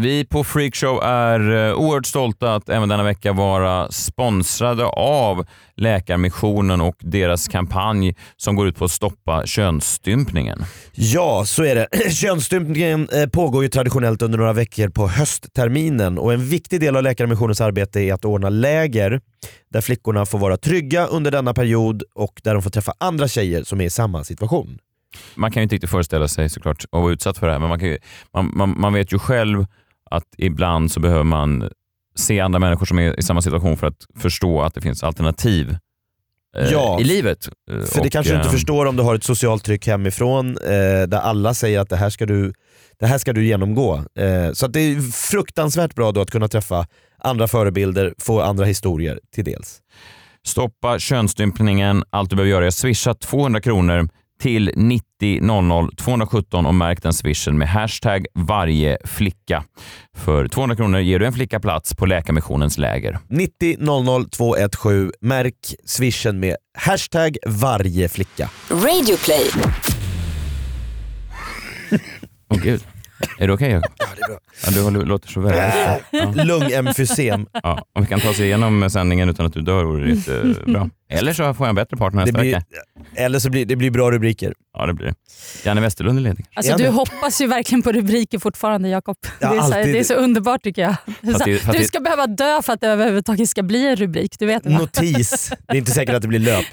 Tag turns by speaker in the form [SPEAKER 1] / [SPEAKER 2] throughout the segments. [SPEAKER 1] Vi på Freakshow är eh, oerhört stolta att även denna vecka vara sponsrade av Läkarmissionen och deras kampanj som går ut på att stoppa könsstympningen.
[SPEAKER 2] Ja, så är det. Könsstympningen eh, pågår ju traditionellt under några veckor på höstterminen och en viktig del av Läkarmissionens arbete är att ordna läger där flickorna får vara trygga under denna period och där de får träffa andra tjejer som är i samma situation.
[SPEAKER 1] Man kan ju inte riktigt föreställa sig såklart att vara utsatt för det här, men man, kan ju, man, man, man vet ju själv att ibland så behöver man se andra människor som är i samma situation för att förstå att det finns alternativ eh,
[SPEAKER 2] Ja,
[SPEAKER 1] i livet. Eh,
[SPEAKER 2] För det
[SPEAKER 1] och,
[SPEAKER 2] kanske du inte
[SPEAKER 1] eh,
[SPEAKER 2] förstår om du har ett socialt tryck hemifrån eh, där alla säger att det här ska du, det här ska du genomgå. Eh, så att det är fruktansvärt bra då att kunna träffa andra förebilder, få andra historier till dels.
[SPEAKER 1] Stoppa könsstympningen. Allt du behöver göra är att swisha 200 kronor till 90 00 217 och märk den swishen med hashtag varje flicka. För 200 kronor ger du en flicka plats på Läkarmissionens läger.
[SPEAKER 2] 90 00 217, märk swishen med hashtag varje flicka.
[SPEAKER 3] Radio play.
[SPEAKER 1] Åh gud. Är det okej Jakob? Ja,
[SPEAKER 2] det är bra.
[SPEAKER 1] du håller- låter så väldigt... Ja.
[SPEAKER 2] Lungemfysem.
[SPEAKER 1] Ja, om vi kan ta oss igenom sändningen utan att du dör vore det jättebra. Eller så får jag en bättre partner
[SPEAKER 2] Det
[SPEAKER 1] nästa
[SPEAKER 2] blir,
[SPEAKER 1] vecka.
[SPEAKER 2] eller så blir det blir bra rubriker.
[SPEAKER 1] Ja, det blir det. Janne Westerlund är ledig.
[SPEAKER 2] Är
[SPEAKER 4] Alltså,
[SPEAKER 2] han
[SPEAKER 4] du
[SPEAKER 2] det?
[SPEAKER 4] hoppas ju verkligen på rubriker fortfarande Jakob.
[SPEAKER 2] Ja,
[SPEAKER 4] det, är så här-
[SPEAKER 2] alltid.
[SPEAKER 4] det är så underbart tycker jag. Det är
[SPEAKER 1] Fast
[SPEAKER 4] så här,
[SPEAKER 1] det- fast
[SPEAKER 4] du
[SPEAKER 1] det-
[SPEAKER 4] ska behöva dö för att det överhuvudtaget ska bli en rubrik. Du vet det va?
[SPEAKER 2] Notis. Det är inte säkert att det blir löp.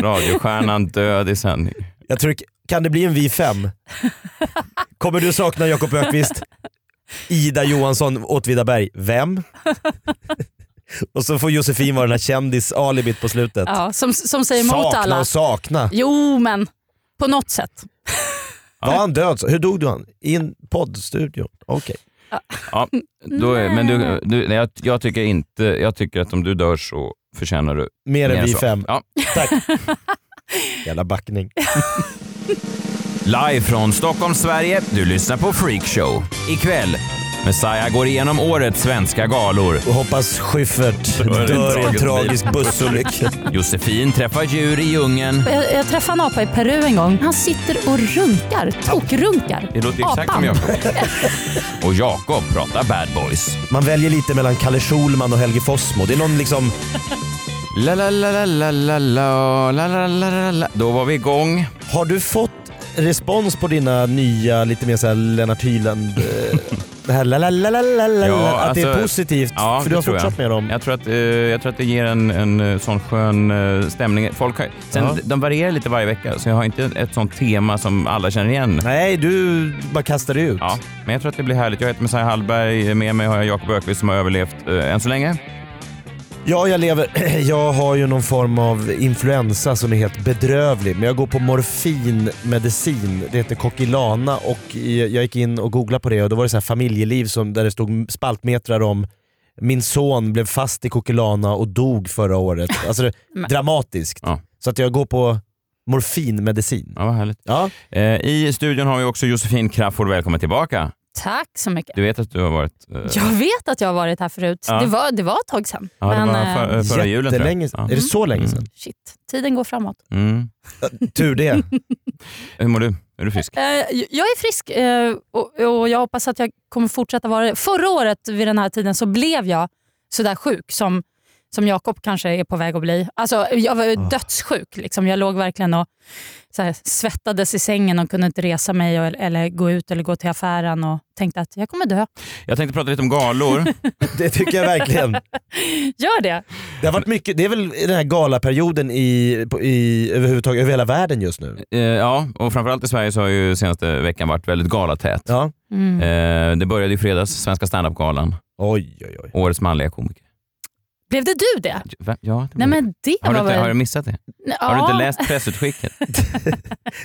[SPEAKER 1] Radiostjärnan död i sändning.
[SPEAKER 2] Jag tror, kan det bli en Vi fem? Kommer du sakna Jakob Ökvist? Ida Johansson, Åtvidaberg. Vem? Och så får Josefin vara den här kändis-alibit på slutet.
[SPEAKER 4] Ja, som, som säger emot
[SPEAKER 2] Sakna
[SPEAKER 4] alla.
[SPEAKER 2] och sakna.
[SPEAKER 4] Jo men, på något sätt.
[SPEAKER 2] Var han död? Hur dog du han? I en poddstudio? Okej.
[SPEAKER 1] Ja, då är, men du, du, nej, jag, jag, tycker inte, jag tycker att om du dör så förtjänar du
[SPEAKER 2] Mer än Vi
[SPEAKER 1] så.
[SPEAKER 2] fem.
[SPEAKER 1] Ja.
[SPEAKER 2] Tack. Jävla backning.
[SPEAKER 1] Live från Stockholm, Sverige. Du lyssnar på Freakshow. Ikväll, Messiah går igenom årets svenska galor.
[SPEAKER 2] Och hoppas Schyffert
[SPEAKER 1] är det
[SPEAKER 2] dör i en
[SPEAKER 1] tragiskt.
[SPEAKER 2] tragisk bussolycka.
[SPEAKER 1] Josefin träffar djur i djungeln.
[SPEAKER 4] Jag, jag träffade en apa i Peru en gång. Han sitter och runkar. Tokrunkar.
[SPEAKER 1] Det låter exakt som Jakob. Och Jakob pratar bad boys.
[SPEAKER 2] Man väljer lite mellan Kalle Schulman och Helge Fossmo. Det är någon liksom...
[SPEAKER 1] La la la la la la la la la la la la Då var vi igång.
[SPEAKER 2] Har du fått respons på dina nya, lite mer såhär Lennart Hyland... eh, det här la la la la la la,
[SPEAKER 1] Ja,
[SPEAKER 2] att det är
[SPEAKER 1] alltså,
[SPEAKER 2] positivt?
[SPEAKER 1] Ja,
[SPEAKER 2] för du har
[SPEAKER 1] det tror
[SPEAKER 2] fortsatt
[SPEAKER 1] jag.
[SPEAKER 2] med dem.
[SPEAKER 1] Jag tror, att, eh, jag tror att det ger en, en eh, sån skön eh, stämning. Folk har, sen,
[SPEAKER 2] Ja.
[SPEAKER 1] De varierar lite varje vecka, så jag har inte ett sånt tema som alla känner igen.
[SPEAKER 2] Nej, du bara kastar det ut.
[SPEAKER 1] Ja, men jag tror att det blir härligt. Jag heter Messiah Hallberg. Med mig har jag Jakob Ökvist som har överlevt eh, än så länge.
[SPEAKER 2] Ja, jag lever. Jag har ju någon form av influensa som är helt bedrövlig. Men jag går på morfinmedicin. Det heter Kokilana och jag gick in och googlade på det och då var det så här familjeliv som, där det stod spaltmetrar om min son blev fast i Kokilana och dog förra året. Alltså det,
[SPEAKER 4] Men-
[SPEAKER 2] dramatiskt.
[SPEAKER 1] Ja.
[SPEAKER 2] Så att jag går på morfinmedicin.
[SPEAKER 1] Ja, vad härligt.
[SPEAKER 2] Ja.
[SPEAKER 1] Eh, I studion har vi också Josefin Crafoord. Välkommen tillbaka.
[SPEAKER 4] Tack så mycket.
[SPEAKER 1] Du vet att du har varit... eh,
[SPEAKER 4] Jag vet att jag har varit här förut.
[SPEAKER 1] Ja.
[SPEAKER 4] Det, var, det var ett tag sedan.
[SPEAKER 1] ja, det
[SPEAKER 4] men,
[SPEAKER 1] var
[SPEAKER 4] eh,
[SPEAKER 1] för, eh, förra julen tror jag.
[SPEAKER 2] Jättelänge
[SPEAKER 1] Ja.
[SPEAKER 2] Är det så länge sedan?
[SPEAKER 4] shit, tiden går framåt.
[SPEAKER 1] Mm.
[SPEAKER 2] Tur det.
[SPEAKER 1] Hur mår du? Är du frisk?
[SPEAKER 4] Eh, Jag är frisk eh, och och jag hoppas att jag kommer fortsätta vara det. Förra året vid den här tiden så blev jag sådär sjuk som, som Jakob kanske är på väg att bli. Alltså, jag var ju
[SPEAKER 2] Ah.
[SPEAKER 4] dödssjuk. Liksom. Jag låg verkligen och så här, svettades i sängen och kunde inte resa mig och, eller gå ut eller gå till affären och tänkte att jag kommer dö.
[SPEAKER 1] Jag tänkte prata lite om galor.
[SPEAKER 2] Det tycker jag verkligen.
[SPEAKER 4] Gör det!
[SPEAKER 2] Det har varit mycket, det är väl den här galaperioden i, på- i, överhuvudtaget, över hela världen just nu.
[SPEAKER 1] Eh, ja, och framförallt i Sverige så har ju senaste veckan varit väldigt galatät.
[SPEAKER 2] Ja.
[SPEAKER 4] Mm.
[SPEAKER 1] Eh, det började i fredags, Svenska standup-galan.
[SPEAKER 2] Oj, oj, oj.
[SPEAKER 1] Årets manliga komiker.
[SPEAKER 4] Blev det du det?
[SPEAKER 1] Va? Ja, det
[SPEAKER 4] Nej
[SPEAKER 1] var-
[SPEAKER 4] men det
[SPEAKER 1] har, du
[SPEAKER 4] var
[SPEAKER 1] inte,
[SPEAKER 4] väl...
[SPEAKER 1] har du missat det?
[SPEAKER 4] Nej,
[SPEAKER 1] Har du
[SPEAKER 4] ja.
[SPEAKER 1] inte läst pressutskicket?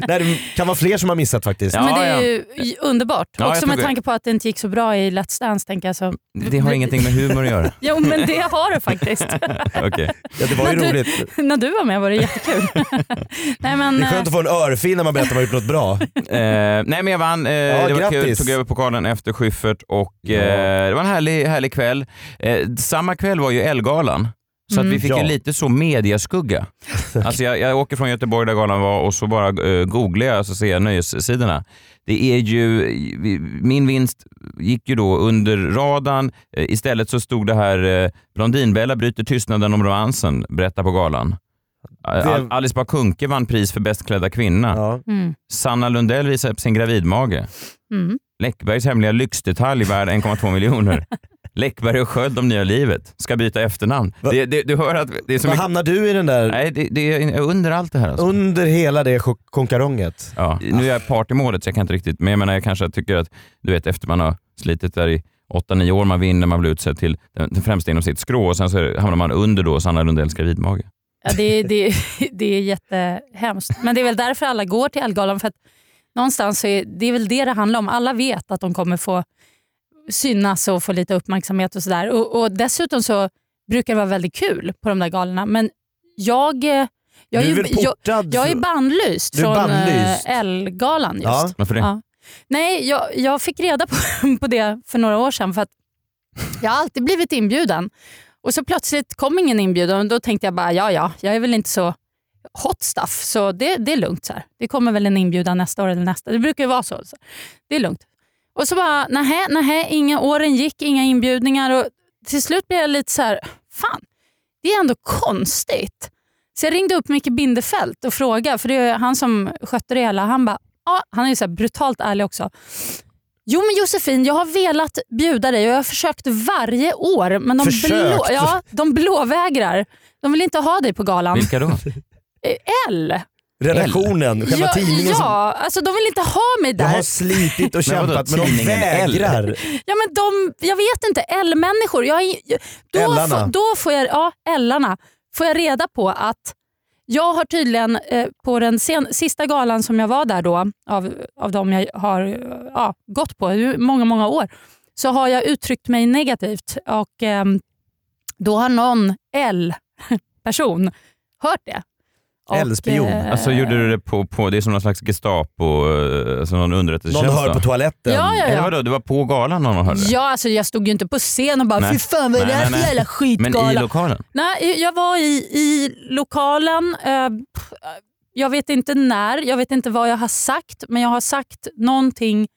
[SPEAKER 2] Nej, det kan vara fler som har missat faktiskt.
[SPEAKER 1] Ja.
[SPEAKER 4] men det är ju underbart.
[SPEAKER 1] Ja, jag
[SPEAKER 4] Också
[SPEAKER 1] tog
[SPEAKER 4] med
[SPEAKER 1] det.
[SPEAKER 4] tanke på att det inte gick så bra i Let's Dance. Tänker jag, så.
[SPEAKER 1] Det har ingenting med humor att göra.
[SPEAKER 4] Jo men det har det faktiskt.
[SPEAKER 1] Okej.
[SPEAKER 2] Ja, det var ju
[SPEAKER 4] Men du-
[SPEAKER 2] roligt.
[SPEAKER 4] när du var med var det jättekul. Nej, men, eh,
[SPEAKER 2] Det är skönt att få en örfil när man berättar att man har gjort något bra.
[SPEAKER 1] Eh, nej men jag vann. Eh, det var kul.
[SPEAKER 2] grattis.
[SPEAKER 1] Tog över pokalen efter Schyffert och eh,
[SPEAKER 2] Ja.
[SPEAKER 1] det var en härlig, härlig kväll. Eh, samma kväll var ju Ellegalan. Så
[SPEAKER 4] Mm.
[SPEAKER 1] att vi fick
[SPEAKER 2] Ja.
[SPEAKER 1] ju lite så mediaskugga. alltså jag, jag åker från Göteborg där galan var och så bara eh, googlar jag så ser jag nöjessidorna. Det är ju, vi- min vinst gick ju då under radarn. Eh, Istället så stod det här eh, Blondinbella bryter tystnaden om romansen, berättar på galan. Al- Alice Bah Kuhnke vann pris för bäst klädda kvinna.
[SPEAKER 2] Ja.
[SPEAKER 4] Mm.
[SPEAKER 1] Sanna Lundell visar upp sin gravidmage.
[SPEAKER 4] Mm.
[SPEAKER 1] Läckbergs hemliga lyxdetalj värd 1,2 miljoner. Läckberg och Sköld om nya livet. Ska byta efternamn.
[SPEAKER 2] Va?
[SPEAKER 1] Det, det, du hör att det är så
[SPEAKER 2] Vad
[SPEAKER 1] mycket...
[SPEAKER 2] hamnar du i den där,
[SPEAKER 1] Nej, det, det är under allt det här. Alltså.
[SPEAKER 2] under hela det chok- konkaronget?
[SPEAKER 1] Ja. Nu är jag part i målet så jag kan inte riktigt, men jag menar jag kanske tycker att du vet efter man har slitit där i 8-9 år, man vinner, man blir utsedd till den, den främsta inom sitt skrå och sen så är- hamnar man under då Sanna Lundells gravidmage.
[SPEAKER 4] Ja, det, det, det är jättehemskt. Men det är väl därför alla går till Ellegalan. För att någonstans så är det är väl det det handlar om. Alla vet att de kommer få synas och få lite uppmärksamhet och sådär. Och, och dessutom så brukar det vara väldigt kul på de där galorna. Men jag, eh, jag, är,
[SPEAKER 2] du är
[SPEAKER 4] ju,
[SPEAKER 2] väl
[SPEAKER 4] jag,
[SPEAKER 2] portad?
[SPEAKER 4] jag är
[SPEAKER 2] för-
[SPEAKER 4] bannlyst
[SPEAKER 2] Du är
[SPEAKER 4] från
[SPEAKER 2] bannlyst.
[SPEAKER 4] eh, Ellegalan just.
[SPEAKER 2] Ja.
[SPEAKER 1] Varför det?
[SPEAKER 4] Ja. Nej, jag, jag fick reda på, på det för några år sedan för att jag har alltid blivit inbjuden. Och så plötsligt kom ingen inbjudan och då tänkte jag bara, ja ja, jag är väl inte så hot stuff så det, det är lugnt. Så här. Det kommer väl en inbjudan nästa år eller nästa. Det brukar ju vara så. så. Det är lugnt. Och så bara, nähä, nähä, inga åren gick, inga inbjudningar och till slut blev jag lite så här, fan, det är ändå konstigt. Så jag ringde upp Micke Bindefeld och frågade, för det är han som skötte det hela. Han bara, ja, han är ju så här brutalt ärlig också. Jo men Josefin, jag har velat bjuda dig och jag har försökt varje år men de,
[SPEAKER 2] Försökt?
[SPEAKER 4] blå, ja, de blåvägrar. De vill inte ha dig på galan.
[SPEAKER 1] Vilka då?
[SPEAKER 4] L.
[SPEAKER 2] Redaktionen, själva
[SPEAKER 4] ja,
[SPEAKER 2] tidningen. som-
[SPEAKER 4] ja, alltså de vill inte ha mig
[SPEAKER 2] Jag
[SPEAKER 4] där.
[SPEAKER 2] har slitit och
[SPEAKER 1] Men vadå,
[SPEAKER 2] kämpat men de
[SPEAKER 1] tidningen L?
[SPEAKER 2] vägrar.
[SPEAKER 4] Ja, men de, jag vet inte, L-människor. Jag, är- jag- då,
[SPEAKER 2] Ellarna.
[SPEAKER 4] får- då får jag, ja, Ellarna, får jag reda på att jag har tydligen eh, på den sen, sista galan som jag var där då, av, av de jag har eh, ja, gått på i många, många år, så har jag uttryckt mig negativt och ehm, då har någon L-person hört det. Och,
[SPEAKER 2] L-spion.
[SPEAKER 4] eh,
[SPEAKER 1] Alltså gjorde du det på, på det är som någon slags Gestapo, eh, alltså någon underrättelsetjänst?
[SPEAKER 2] Någon hör på
[SPEAKER 1] va?
[SPEAKER 2] toaletten.
[SPEAKER 4] Ja, ja,
[SPEAKER 1] Eller
[SPEAKER 4] ja.
[SPEAKER 1] vadå, det var på galan någon hörde det?
[SPEAKER 4] Ja, alltså jag stod ju inte på scen och bara
[SPEAKER 1] Nej.
[SPEAKER 4] fy fan vad är det
[SPEAKER 1] Nej,
[SPEAKER 4] här
[SPEAKER 1] nej,
[SPEAKER 4] för
[SPEAKER 1] nej.
[SPEAKER 4] jävla
[SPEAKER 1] Men
[SPEAKER 4] skitgala.
[SPEAKER 1] i lokalen?
[SPEAKER 4] Nej, jag var i, i lokalen. Eh, pff, eh, jag vet inte när, jag vet inte vad jag har sagt, men jag har sagt någonting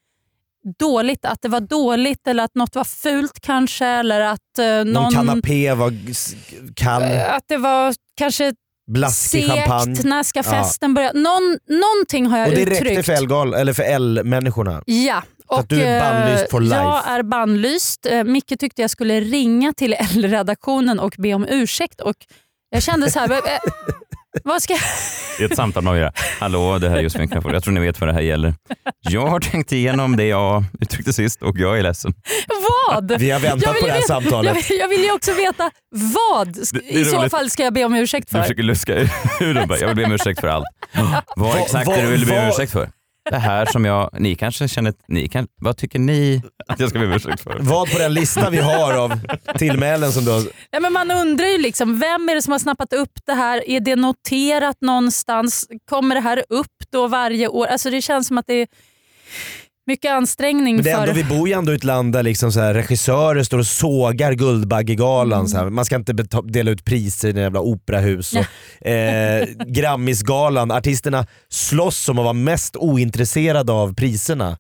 [SPEAKER 4] dåligt. Att det var dåligt eller att något var fult kanske. Eller att, eh, någon, Eh,
[SPEAKER 2] Någon kanapé var g- s- kall,
[SPEAKER 4] att det var kanske
[SPEAKER 2] blaskig champagne.
[SPEAKER 4] segt. När ska
[SPEAKER 2] Ja.
[SPEAKER 4] festen börja? Någon, någonting har jag
[SPEAKER 2] Och det
[SPEAKER 4] uttryckt.
[SPEAKER 2] räckte för L-gal, eller för L-människorna.
[SPEAKER 4] Ja.
[SPEAKER 2] Så att du är
[SPEAKER 4] eh,
[SPEAKER 2] bannlyst for
[SPEAKER 4] Jag
[SPEAKER 2] life.
[SPEAKER 4] är bannlyst. Eh, Micke tyckte jag skulle ringa till L-redaktionen och be om ursäkt. Och jag kände så här, eh, vad ska jag...
[SPEAKER 1] Det är ett samtal man vill göra. Hallå, det här är Josefin Crafoord. Jag tror ni vet vad det här gäller. Jag har tänkt igenom det jag uttryckte sist och jag är ledsen.
[SPEAKER 4] Vad?
[SPEAKER 2] Vi har
[SPEAKER 4] Jag
[SPEAKER 2] väntat
[SPEAKER 4] vill
[SPEAKER 2] på det här
[SPEAKER 4] veta- Jag
[SPEAKER 2] samtalet.
[SPEAKER 4] vill, jag vill ju också veta vad sk-
[SPEAKER 1] Det- det är
[SPEAKER 4] i så
[SPEAKER 1] roligt.
[SPEAKER 4] fall ska jag be om ursäkt
[SPEAKER 1] Du
[SPEAKER 4] för.
[SPEAKER 1] försöker luska ur det. bara. Jag vill be om ursäkt för allt. Vad
[SPEAKER 2] Va-
[SPEAKER 1] exakt
[SPEAKER 2] va-
[SPEAKER 1] är det du vill be om
[SPEAKER 2] va-
[SPEAKER 1] ursäkt för? Det här som jag... Ni kanske känner... att Ni kan, vad tycker ni att jag ska be om ursäkt för?
[SPEAKER 2] Vad på den lista vi har av tillmälen som du har...
[SPEAKER 4] Ja, men man undrar ju liksom, vem är det som har snappat upp det här? Är det noterat någonstans? Kommer det här upp då varje år? Alltså det känns som att det är mycket ansträngning
[SPEAKER 2] Men det är ändå,
[SPEAKER 4] för...
[SPEAKER 2] vi bor ju ändå i ett land där liksom så här, regissörer står och sågar Guldbaggegalan. så här. Man ska inte beta- dela ut priser i den jävla operahus. Och, eh, Grammisgalan, artisterna slåss om att vara mest ointresserade av priserna.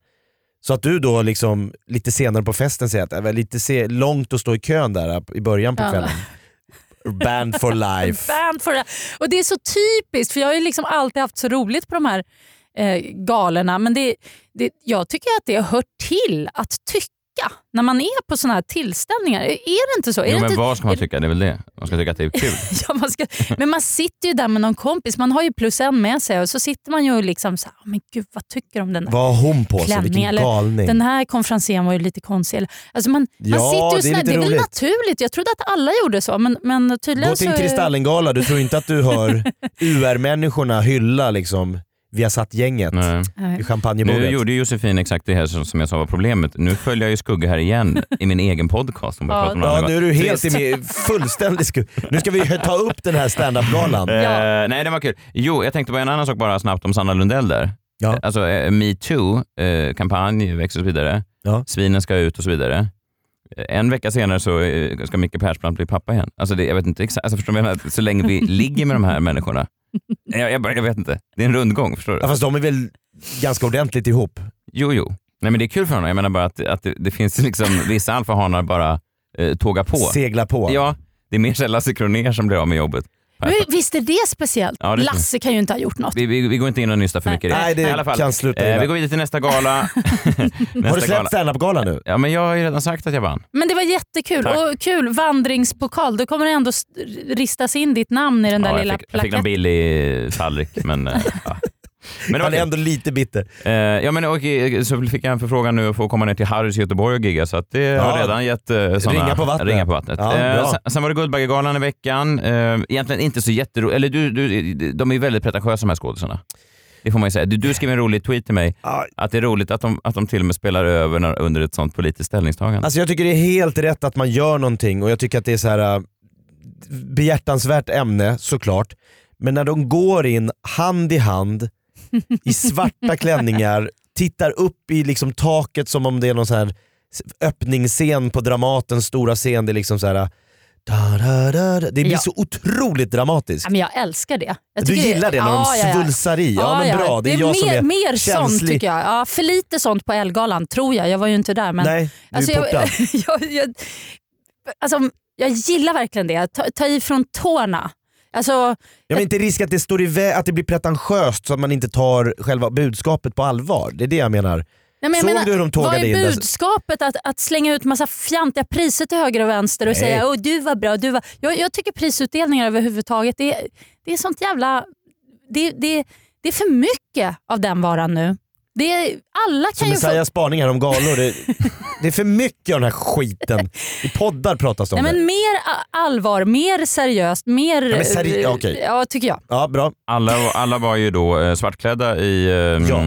[SPEAKER 2] Så att du då liksom, lite senare på festen säger att det var lite se- långt att stå i kön där äh, i början på
[SPEAKER 4] Ja.
[SPEAKER 2] kvällen. Band for life.
[SPEAKER 4] Fan för det. Och det är så typiskt, för jag har ju liksom alltid haft så roligt på de här eh, galorna. Men det, det, jag tycker att det hör till att tycka när man är på såna här tillställningar. Är det inte så? är
[SPEAKER 1] Jo,
[SPEAKER 4] det
[SPEAKER 1] men
[SPEAKER 4] inte
[SPEAKER 1] vad ska man
[SPEAKER 4] är det-
[SPEAKER 1] tycka? Det är väl det. Man ska tycka att det är kul.
[SPEAKER 4] Ja, man ska, men man sitter ju där med någon kompis, man har ju plus en med sig och så sitter man ju och liksom så här, men gud vad tycker du om den här?
[SPEAKER 2] Vad har hon på sig?
[SPEAKER 4] Klänning
[SPEAKER 2] Vilken
[SPEAKER 4] eller
[SPEAKER 2] galning.
[SPEAKER 4] Den här konferensen var ju lite konstig. Eller- Alltså man, man
[SPEAKER 2] Ja,
[SPEAKER 4] sitter ju
[SPEAKER 2] det är
[SPEAKER 4] sådär,
[SPEAKER 2] lite
[SPEAKER 4] det är väl
[SPEAKER 2] roligt.
[SPEAKER 4] naturligt. Jag trodde att alla gjorde så men, men tydligen
[SPEAKER 2] Gå till en
[SPEAKER 4] så... är-
[SPEAKER 2] Kristallengala, du tror inte att du hör UR-människorna hylla liksom Viasat-gänget
[SPEAKER 1] Nej.
[SPEAKER 4] Nej.
[SPEAKER 2] i
[SPEAKER 1] Nu
[SPEAKER 2] champagnebordet.
[SPEAKER 1] gjorde ju Josefin exakt det här som som jag sa var problemet. Nu följer jag ju skugga här igen i min egen podcast. Hon bara
[SPEAKER 4] Ja,
[SPEAKER 1] pratar om
[SPEAKER 2] Ja,
[SPEAKER 1] andra-
[SPEAKER 2] nu är du helt i min fullständig sku... Nu ska vi hö- ta upp den här standup-galan.
[SPEAKER 4] Ja.
[SPEAKER 1] Eh, nej, det var kul. Jo, jag tänkte på en annan sak bara snabbt om Sanna Lundell där.
[SPEAKER 2] Ja.
[SPEAKER 1] Alltså eh, metoo-kampanj växer och så vidare.
[SPEAKER 2] Ja.
[SPEAKER 1] Svinen ska ut och så vidare. Eh, En vecka senare så eh, ska Micke Persbrandt bli pappa igen. Alltså det, jag vet inte exakt, alltså förstår du vad jag menar? Så länge vi ligger med de här människorna. Jag, jag, bara- jag vet inte, det är en rundgång. Förstår du?
[SPEAKER 2] Ja, fast de är väl ganska ordentligt ihop?
[SPEAKER 1] Jo, jo. Nej, men det är kul för honom. Jag menar bara att, att det, det finns liksom vissa alfahanar bara eh, tågar på.
[SPEAKER 2] Segla på.
[SPEAKER 1] Ja, det är mer så här Lasse Kronér som blir av med jobbet.
[SPEAKER 4] Men Visst är det speciellt?
[SPEAKER 1] Ja, det är
[SPEAKER 4] Lasse kan ju inte ha gjort något.
[SPEAKER 1] Vi, vi, vi går inte in och nystar för
[SPEAKER 4] Nej.
[SPEAKER 1] mycket i
[SPEAKER 2] Nej, det
[SPEAKER 1] I alla fall.
[SPEAKER 2] kan sluta
[SPEAKER 1] Eh,
[SPEAKER 2] illa.
[SPEAKER 1] vi går vidare till nästa gala. nästa
[SPEAKER 2] Har du
[SPEAKER 1] gala.
[SPEAKER 2] släppt standup-galan nu?
[SPEAKER 1] Ja, men jag har ju redan sagt att jag vann.
[SPEAKER 4] Men det var jättekul.
[SPEAKER 1] Tack.
[SPEAKER 4] Och kul vandringspokal. Då kommer det ändå st- ristas in ditt namn i den där
[SPEAKER 1] ja,
[SPEAKER 4] lilla
[SPEAKER 1] jag, fick, jag fick en
[SPEAKER 4] plaketten.
[SPEAKER 1] billig tallrik. Men, eh, ja. men det var
[SPEAKER 2] Han är
[SPEAKER 1] kul.
[SPEAKER 2] ändå lite bitter.
[SPEAKER 1] Eh, ja, men, och, eh, så fick jag en förfrågan nu att få komma ner till Harrys i Göteborg och gigga så att det har
[SPEAKER 2] Ja.
[SPEAKER 1] redan gett eh, såna,
[SPEAKER 2] Ringar på vattnet.
[SPEAKER 1] ringar på vattnet.
[SPEAKER 2] Ja,
[SPEAKER 1] Eh,
[SPEAKER 2] bra.
[SPEAKER 1] sen, sen var det Guldbaggegalan i veckan. Eh, egentligen inte så jätteroligt. Eller du, du, de är ju väldigt pretentiösa de här skådisarna. Det får man ju säga. Du, du skrev en rolig tweet till mig
[SPEAKER 2] Ja,
[SPEAKER 1] att det är roligt att de, att de till och med spelar över när, under ett sånt politiskt ställningstagande.
[SPEAKER 2] Alltså jag tycker det är helt rätt att man gör någonting och jag tycker att det är så här äh, behjärtansvärt ämne såklart. Men när de går in hand i hand i svarta klänningar, tittar upp i liksom taket som om det är någon så här öppningsscen på Dramatens stora scen. Det är liksom så här, äh, da, da, da, da. Det blir
[SPEAKER 4] Ja.
[SPEAKER 2] så otroligt dramatiskt.
[SPEAKER 4] Ja, men jag älskar det. Jag
[SPEAKER 2] Du
[SPEAKER 4] tycker
[SPEAKER 2] gillar det när de
[SPEAKER 4] Ja, ja, ja.
[SPEAKER 2] svulsar i. Ja men bra, det är jag
[SPEAKER 4] mer,
[SPEAKER 2] som är...
[SPEAKER 4] mer sånt
[SPEAKER 2] känslig.
[SPEAKER 4] tycker jag. Ja, för lite sånt på Elgalan tror jag. Jag var ju inte där. Men,
[SPEAKER 2] Nej, du
[SPEAKER 4] alltså,
[SPEAKER 2] är portad.
[SPEAKER 4] jag, jag, jag, alltså, jag gillar verkligen det. Ta, ta i från tårna. Alltså,
[SPEAKER 2] Ja, men inte risk att det, står i vä- att det blir pretentiöst så att man inte tar själva budskapet på allvar. Det är det jag menar.
[SPEAKER 4] Nej, men jag
[SPEAKER 2] Såg
[SPEAKER 4] menar,
[SPEAKER 2] du hur de
[SPEAKER 4] vad
[SPEAKER 2] tågade
[SPEAKER 4] är
[SPEAKER 2] in där?
[SPEAKER 4] budskapet att, att slänga ut massa fjantiga priser till höger och vänster och
[SPEAKER 2] Nej.
[SPEAKER 4] säga oh, du var bra, du var... Jag, jag tycker prisutdelningar överhuvudtaget, det, är- det är sånt jävla... Det, det, det är för mycket av den varan nu. Det är, alla
[SPEAKER 2] Som
[SPEAKER 4] kan ju få...
[SPEAKER 2] Messiahs spaningar om galor. Det, det är för mycket av den här skiten. I poddar pratas det om
[SPEAKER 4] Nej,
[SPEAKER 2] det.
[SPEAKER 4] men mer a- allvar, mer seriöst, mer...
[SPEAKER 2] Ja, men seri-
[SPEAKER 4] eh,
[SPEAKER 2] okej.
[SPEAKER 4] ja, tycker jag.
[SPEAKER 2] Ja, bra.
[SPEAKER 1] Alla, alla var ju då eh, svartklädda i... Eh,
[SPEAKER 2] Ja.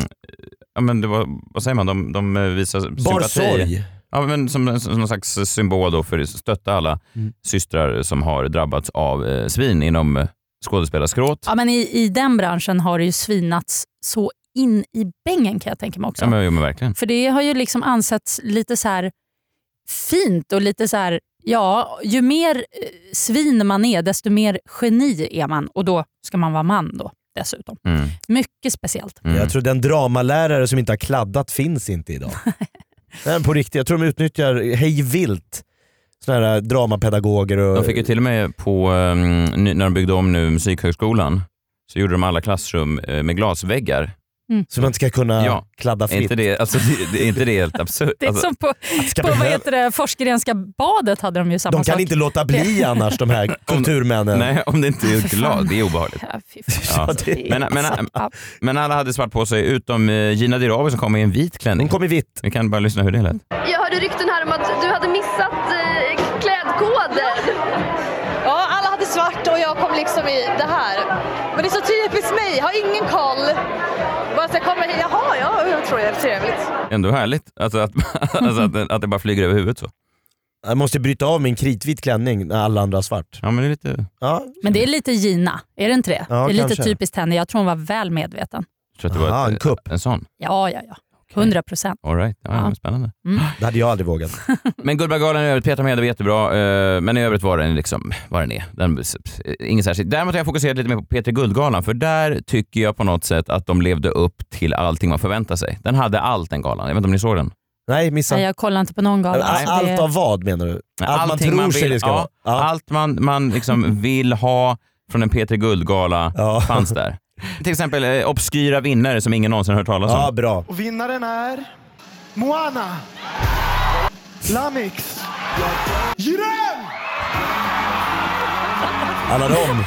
[SPEAKER 1] ja, men det var, vad säger man? De, de eh, visar
[SPEAKER 2] Bar
[SPEAKER 1] sympati.
[SPEAKER 2] sorg.
[SPEAKER 1] Ja, men som, som någon slags symbol då för att stötta alla
[SPEAKER 2] Mm.
[SPEAKER 1] systrar som har drabbats av eh, svin inom eh, skådespelarskrået.
[SPEAKER 4] Ja, men i, I den branschen har det ju svinats så in i bängen kan jag tänka mig också.
[SPEAKER 1] Ja, men, jo, men verkligen.
[SPEAKER 4] För det har ju liksom ansetts lite så här fint och lite så här, ja, ju mer eh, svin man är, desto mer geni är man. Och då ska man vara man då dessutom.
[SPEAKER 1] Mm.
[SPEAKER 4] Mycket speciellt.
[SPEAKER 1] Mm.
[SPEAKER 2] Jag tror den dramalärare som inte har kladdat finns inte idag. Nej, men på riktigt, jag tror de utnyttjar hej vilt. Såna här eh, dramapedagoger och...
[SPEAKER 1] De fick ju till och med på, ehm, ny- när de byggde om nu Musikhögskolan, så gjorde de alla klassrum eh, med glasväggar.
[SPEAKER 2] Så man inte ska kunna
[SPEAKER 1] Ja.
[SPEAKER 2] kladda
[SPEAKER 1] Är
[SPEAKER 2] fritt.
[SPEAKER 1] inte det, alltså, det, det, är inte det helt absurt?
[SPEAKER 4] Det är
[SPEAKER 1] Alltså,
[SPEAKER 4] som på,
[SPEAKER 2] Ska
[SPEAKER 4] på vad
[SPEAKER 2] behöva-
[SPEAKER 4] heter det, Forsgrenska badet hade de ju samma
[SPEAKER 2] De kan
[SPEAKER 4] sak.
[SPEAKER 2] inte låta bli annars de här kulturmännen.
[SPEAKER 1] nej, om det inte är
[SPEAKER 4] För fan.
[SPEAKER 1] glas. Det är obehagligt.
[SPEAKER 4] Ja, fy fan.
[SPEAKER 1] Ja.
[SPEAKER 4] Alltså, det är-
[SPEAKER 1] Men- eh, men-
[SPEAKER 4] alltså, ja.
[SPEAKER 1] Men alla hade svart på sig utom eh, Gina Dirawi som kom i en vit klänning.
[SPEAKER 2] Hon kom i vitt.
[SPEAKER 1] Vi kan bara lyssna hur det lät.
[SPEAKER 3] Jag hörde rykten här om att du hade missat eh, klädkoden.
[SPEAKER 5] Ja, alla hade svart och jag kom liksom i det här. Men det är så typiskt mig, jag har ingen koll. Bara så jag kommer hit, jaha, ja, jag tror jag, trevligt.
[SPEAKER 1] Ändå härligt alltså att, alltså att, det- att det bara flyger över huvudet så.
[SPEAKER 2] Jag måste bryta av min kritvit klänning när alla andra har svart.
[SPEAKER 1] Ja, men det är lite...
[SPEAKER 2] Ja,
[SPEAKER 4] men det är lite Gina, är det inte det?
[SPEAKER 2] Ja,
[SPEAKER 4] det är lite
[SPEAKER 2] kanske.
[SPEAKER 4] typiskt henne. Jag tror hon var väl medveten.
[SPEAKER 1] Jag tror att det var
[SPEAKER 2] Aha,
[SPEAKER 1] ett,
[SPEAKER 2] en kupp.
[SPEAKER 1] En sån?
[SPEAKER 4] Ja, ja, ja. 100 procent.
[SPEAKER 1] All right. ja, ja.
[SPEAKER 4] Ja.
[SPEAKER 1] Spännande.
[SPEAKER 2] det hade jag aldrig vågat.
[SPEAKER 1] Men Guldbaggegalan i övrigt, Petra Mede var jättebra, eh, men i övrigt var den liksom vad den är. Den, eh, ingen särskild. Däremot har jag fokuserat lite mer på P3 Guldgalan, för där tycker jag på något sätt att de levde upp till allting man förväntar sig. Den hade allt den galan. Jag vet inte om ni såg den?
[SPEAKER 2] Nej, missa.
[SPEAKER 4] Nej, jag kollar inte på någon gala.
[SPEAKER 2] All-
[SPEAKER 4] så det-
[SPEAKER 2] Allt av vad menar du? Allt man
[SPEAKER 1] Alltså, Allting
[SPEAKER 2] tror sig det ska
[SPEAKER 1] ja,
[SPEAKER 2] vara? Ja.
[SPEAKER 1] Allt man, man liksom vill ha från en P3 Guldgala
[SPEAKER 2] Ja.
[SPEAKER 1] fanns där. Till exempel eh, obskyra vinnare som ingen någonsin hört talas om.
[SPEAKER 2] ja, bra.
[SPEAKER 6] Och vinnaren är Moana, Lamix, Jiren!
[SPEAKER 2] Alla dem.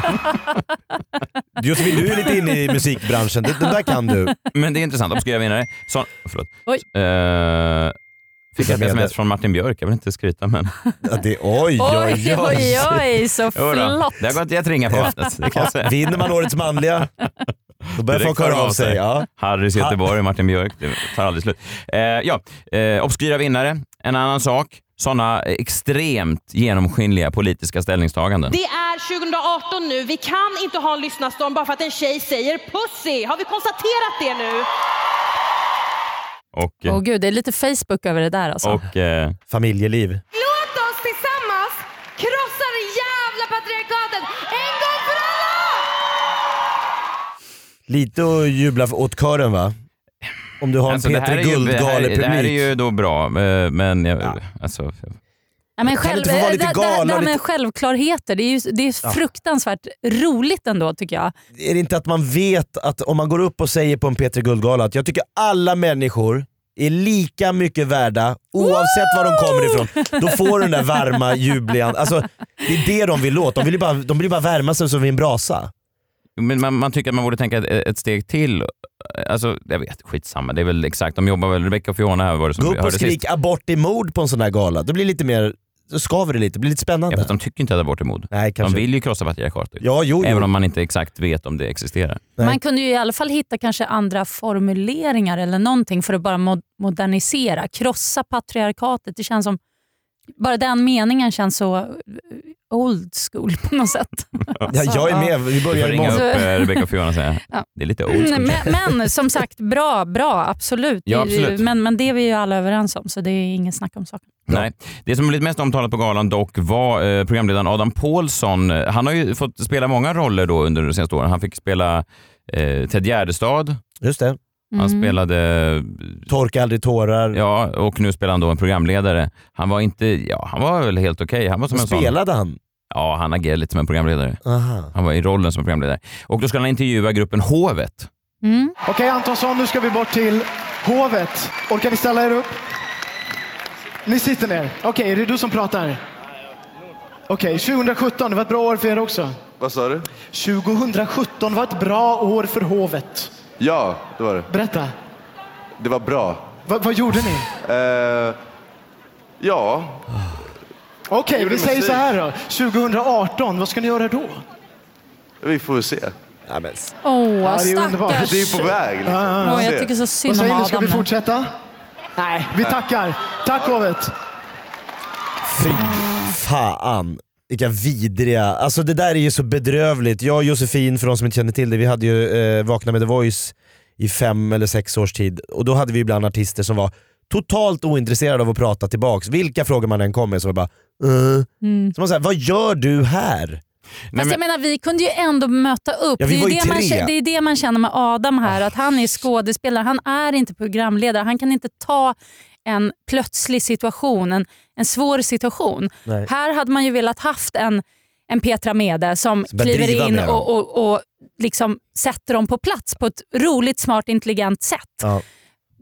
[SPEAKER 2] Josefin, du är lite inne i musikbranschen. Det- Den där kan du.
[SPEAKER 1] Men det är intressant, obskyra vinnare. Så, förlåt.
[SPEAKER 4] Oj.
[SPEAKER 1] Eh, fick
[SPEAKER 2] Jag
[SPEAKER 1] ett
[SPEAKER 2] menar-
[SPEAKER 1] sms från Martin Björk, jag vill inte skryta men...
[SPEAKER 2] Ja, det, oj,
[SPEAKER 4] Oj,
[SPEAKER 2] oj,
[SPEAKER 4] oj,
[SPEAKER 2] oj.
[SPEAKER 4] oj, så
[SPEAKER 1] Jodå,
[SPEAKER 4] flott.
[SPEAKER 1] Det har gått ett ringar på vattnet, det kan jag säga.
[SPEAKER 2] Vinner man årets manliga, då börjar
[SPEAKER 1] Direkt
[SPEAKER 2] folk höra av sig. Ja.
[SPEAKER 1] Harrys Göteborg, Martin Björk, det tar aldrig slut. Eh, ja, eh, obskyra vinnare, en annan sak. Sådana extremt genomskinliga politiska ställningstaganden.
[SPEAKER 7] Det är 2018 nu. Vi kan inte ha en lyssnarstorm bara för att en tjej säger pussy. Har vi konstaterat det nu?
[SPEAKER 1] Och, eh,
[SPEAKER 4] Åh gud, det är lite Facebook över det där alltså.
[SPEAKER 1] och eh,
[SPEAKER 2] Familjeliv.
[SPEAKER 3] Låt oss tillsammans krossa det jävla patriarkatet en gång för alla!
[SPEAKER 2] Lite att jubla åt kören va? Om du har
[SPEAKER 1] Alltså,
[SPEAKER 2] en
[SPEAKER 1] det, här
[SPEAKER 2] Peter
[SPEAKER 1] är ju, det, här,
[SPEAKER 2] Guldgale-publik.
[SPEAKER 1] det här är ju då bra, eh, men jag,
[SPEAKER 2] Ja.
[SPEAKER 1] alltså,
[SPEAKER 4] Ja, men
[SPEAKER 2] Kan du
[SPEAKER 4] själv,
[SPEAKER 2] inte få vara lite
[SPEAKER 4] det, det, det
[SPEAKER 2] galen
[SPEAKER 4] här
[SPEAKER 2] och
[SPEAKER 4] med
[SPEAKER 2] lite-
[SPEAKER 4] självklarheter, det är, ju, det är fruktansvärt roligt ändå tycker jag.
[SPEAKER 2] är det inte att man vet att om man går upp och säger på en P3 Guldgala att jag tycker alla människor är lika mycket värda oavsett var de kommer ifrån. Då får du den där varma jublian. Alltså, det är det de vill åt. De vill ju bara, de vill ju bara värma sig som vid en brasa.
[SPEAKER 1] men man, man tycker att man borde tänka ett, ett steg till. Alltså, jag vet, skitsamma. Det är väl exakt, de jobbar väl, Rebecca och Fiona här var det som
[SPEAKER 2] Gå
[SPEAKER 1] vi
[SPEAKER 2] upp och
[SPEAKER 1] hörde sist.
[SPEAKER 2] skrik abort i mord på en sån där gala. Då blir det lite mer, då skaver det lite, det blir lite
[SPEAKER 1] Ja,
[SPEAKER 2] spännande.
[SPEAKER 1] fast de tycker inte att abort är mod.
[SPEAKER 2] Nej,
[SPEAKER 1] De
[SPEAKER 2] kanske.
[SPEAKER 1] vill ju krossa patriarkatet.
[SPEAKER 2] Ja, jo,
[SPEAKER 1] Även om
[SPEAKER 2] jo.
[SPEAKER 1] man inte exakt vet om det existerar.
[SPEAKER 2] Nej.
[SPEAKER 4] Man kunde ju i alla fall hitta kanske andra formuleringar eller någonting för att bara mo- modernisera, krossa patriarkatet. Det känns som, bara den meningen känns så eh, old school på något sätt.
[SPEAKER 2] Ja, jag är med, vi
[SPEAKER 1] Du
[SPEAKER 2] börjar
[SPEAKER 1] får ringa upp
[SPEAKER 2] imorgon.
[SPEAKER 4] måste-
[SPEAKER 1] eh, Rebecca och Fiona och säga,
[SPEAKER 4] Ja.
[SPEAKER 1] det är lite old school.
[SPEAKER 4] men, men som sagt, bra, bra, absolut.
[SPEAKER 1] Ja, absolut.
[SPEAKER 4] Men, men det är vi ju alla överens om, så det är inget snack om saken.
[SPEAKER 1] Nej. Det som blivit mest omtalat på galan dock var eh, programledaren Adam Paulsson. Eh, Han har ju fått spela många roller då under de senaste åren. Han fick spela eh, Ted Gärdestad,
[SPEAKER 2] Just det.
[SPEAKER 1] han
[SPEAKER 4] Mm.
[SPEAKER 1] spelade,
[SPEAKER 2] Torka aldrig tårar.
[SPEAKER 1] ja, och nu spelar han då en programledare. Han var inte, ja, han var väl helt okej. Han var som en sån,
[SPEAKER 2] Spelade han?
[SPEAKER 1] ja, han agerade lite som en programledare.
[SPEAKER 2] Aha.
[SPEAKER 1] Han var i rollen som programledare. Och då skulle han intervjua gruppen Hovet.
[SPEAKER 4] Mm.
[SPEAKER 6] Okej Antonsson, nu ska vi bort till Hovet. Orkar ni ställa er upp? Ni sitter ner. Okej, är det du som pratar? Okej, 2017, det var ett bra år för er också.
[SPEAKER 8] Vad sa du?
[SPEAKER 6] 2017 var ett bra år för Hovet.
[SPEAKER 8] Ja, det var det.
[SPEAKER 6] Berätta,
[SPEAKER 8] Det var bra.
[SPEAKER 6] Va, vad gjorde ni?
[SPEAKER 8] Eh, ja,
[SPEAKER 6] Okej, vi
[SPEAKER 8] Gjorde
[SPEAKER 6] säger
[SPEAKER 8] musik.
[SPEAKER 6] så här då. 2018, vad ska ni göra då?
[SPEAKER 8] vi får väl se.
[SPEAKER 2] Ja, men s-
[SPEAKER 4] Åh,
[SPEAKER 6] det är underbart.
[SPEAKER 4] stackars.
[SPEAKER 8] Det är på väg. Liksom.
[SPEAKER 4] Åh, jag
[SPEAKER 8] Se.
[SPEAKER 4] tycker så
[SPEAKER 6] Vad
[SPEAKER 4] synd om
[SPEAKER 6] säger ni, ska
[SPEAKER 4] Adam.
[SPEAKER 6] vi
[SPEAKER 4] nu.
[SPEAKER 6] fortsätta? Nej, vi tackar. Tack Hovet.
[SPEAKER 2] Fy fan. Vilka vidriga. Alltså det där är ju så bedrövligt. Jag och Josefin, för de som inte känner till det, vi hade ju eh, Vakna med The Voice i fem eller sex års tid. Och då hade vi ibland artister som var totalt ointresserade av att prata tillbaks. Vilka frågor man än kom med så var det bara uh.
[SPEAKER 4] Mm.
[SPEAKER 2] Så man säger, vad gör du här?
[SPEAKER 1] Nej,
[SPEAKER 4] Fast
[SPEAKER 1] men,
[SPEAKER 4] jag menar vi kunde ju ändå möta upp.
[SPEAKER 2] Ja, vi
[SPEAKER 4] det, är
[SPEAKER 2] var ju
[SPEAKER 4] det, man,
[SPEAKER 2] tre.
[SPEAKER 4] kä- det är det man känner med Adam här, att han är skådespelare. Han är inte programledare. Han kan inte ta en plötslig situation, en, en svår situation.
[SPEAKER 2] Nej.
[SPEAKER 4] Här hade man ju velat haft en, en Petra Mede som,
[SPEAKER 2] Som börjar driva
[SPEAKER 4] kliver in
[SPEAKER 2] med dem.
[SPEAKER 4] och, och, och liksom sätter dem på plats på ett roligt, smart, intelligent sätt.
[SPEAKER 2] Ja.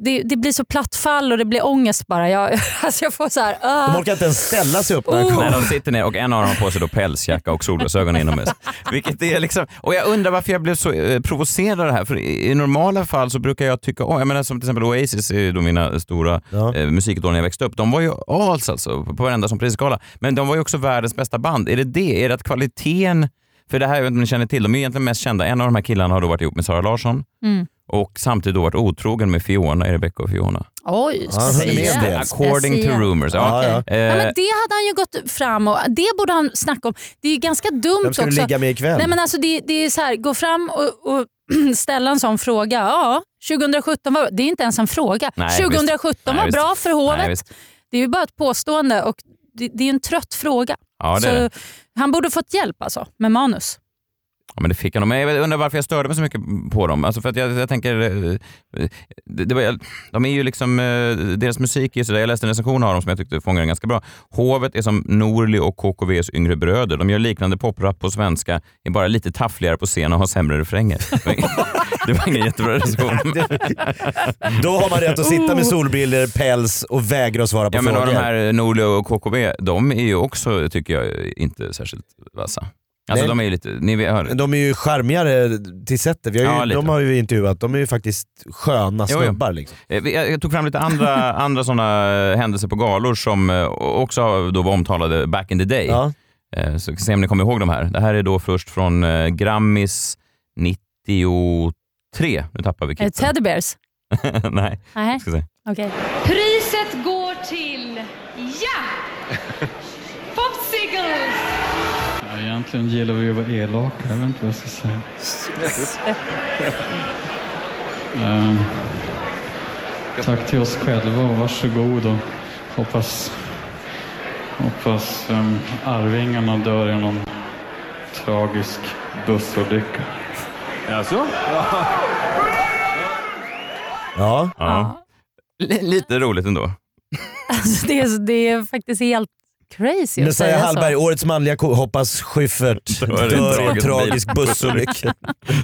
[SPEAKER 4] Det, det blir så platt fall och det blir ångest bara. Jag, alltså jag får så här... ah.
[SPEAKER 2] De orkar inte ens ställa sig upp när han
[SPEAKER 4] Oh.
[SPEAKER 1] när
[SPEAKER 2] kom.
[SPEAKER 1] de sitter ner och en av dem har på sig då pälsjacka och solglasögon inomhus. Vilket är liksom, och jag undrar varför jag blev så eh, provocerad av det här. För i, i normala fall så brukar jag tycka om, jag menar som till exempel Oasis, är ju då mina stora
[SPEAKER 2] Ja.
[SPEAKER 1] eh, musikidol när jag växte upp. De var ju as alltså på varenda som prisgala. Men de var ju också världens bästa band. Är det det? Är det att kvaliteten, för det här jag vet inte om ni känner till, de är ju egentligen mest kända. En av de här killarna har då varit ihop med Sara Larsson och samtidigt då varit otrogen med Fiona, i Rebecca och Fiona.
[SPEAKER 4] Oj,
[SPEAKER 2] Ja, han höll med
[SPEAKER 4] speciellt.
[SPEAKER 2] det.
[SPEAKER 1] According to
[SPEAKER 4] Speciellt.
[SPEAKER 1] rumors. Ja.
[SPEAKER 2] Ja,
[SPEAKER 4] Ja,
[SPEAKER 1] Eh,
[SPEAKER 4] men det hade han ju gått fram och det borde han snacka om. Det är ju ganska dumt
[SPEAKER 2] Vem ska du
[SPEAKER 4] också.
[SPEAKER 2] ligga med ikväll?
[SPEAKER 4] Nej, men alltså, det, det är så här, gå fram och, och ställa en sån fråga. Ja, 2017 var Det är inte ens en fråga.
[SPEAKER 1] Nej, visst.
[SPEAKER 4] 2017 var
[SPEAKER 1] Nej, visst.
[SPEAKER 4] bra för hovet.
[SPEAKER 1] nej, visst.
[SPEAKER 4] det är ju bara ett påstående och det, det är en trött fråga.
[SPEAKER 1] Ja, det är det.
[SPEAKER 4] så han borde fått hjälp alltså, med manus.
[SPEAKER 1] Ja, men det fick han. Men jag undrar varför jag störde mig så mycket på dem. Alltså för att jag, jag tänker, eh, det, det var, de är ju liksom, eh, deras musik är ju sådär, jag läste en recension av dem som jag tyckte fångade den ganska bra. Hovet är som Norli och KKVs yngre bröder. De gör liknande poprap på svenska, är bara lite taffligare på scen och har sämre refränger. det var ingen jättebra recension.
[SPEAKER 2] Då har man rätt att sitta
[SPEAKER 4] Oh.
[SPEAKER 2] med solbriller, päls och vägra att svara på
[SPEAKER 1] Ja, men
[SPEAKER 2] frågor.
[SPEAKER 1] och de här eh, Norli och KKV, de är ju också, tycker jag, inte särskilt vassa. Alltså
[SPEAKER 2] Nej.
[SPEAKER 1] de är ju lite, ni vet, hör,
[SPEAKER 2] De är ju charmigare till sättet. Vi
[SPEAKER 1] Ja,
[SPEAKER 2] har ju,
[SPEAKER 1] lite.
[SPEAKER 2] de har ju intervjuat. De är ju faktiskt sköna
[SPEAKER 1] Jo, jo.
[SPEAKER 2] snubbar. Liksom.
[SPEAKER 1] Eh, vi- Jag jag tog fram lite andra, andra sådana händelser på galor som eh, också då var omtalade back in the day.
[SPEAKER 2] Ja.
[SPEAKER 1] Eh, Så vi ska se om ni kommer ihåg de här. Det här är då först från eh, Grammis 93. Nu tappar vi
[SPEAKER 4] Är det
[SPEAKER 1] kitten.
[SPEAKER 4] Eh, Teddy Bears?
[SPEAKER 1] Nej,
[SPEAKER 4] Nej,
[SPEAKER 1] ska se.
[SPEAKER 4] okej.
[SPEAKER 3] Priset går till, ja! Popsicles!
[SPEAKER 9] Ja, egentligen gillar vi ju att vara elaka. Jag vet inte vad jag ska säga. Eh, tack till oss själva och varsågod och hoppas, hoppas um, Arvingarna dör i någon tragisk bussolycka.
[SPEAKER 2] Ja.
[SPEAKER 1] Ja. Li- lite roligt ändå.
[SPEAKER 4] Alltså, det, är, det är faktiskt helt crazy att
[SPEAKER 2] Messiah
[SPEAKER 4] säga
[SPEAKER 2] Hallberg,
[SPEAKER 4] så.
[SPEAKER 2] årets manliga ko hoppas Schyffert
[SPEAKER 1] Dör i
[SPEAKER 2] dör i
[SPEAKER 1] tragisk
[SPEAKER 2] tragisk bussolycka.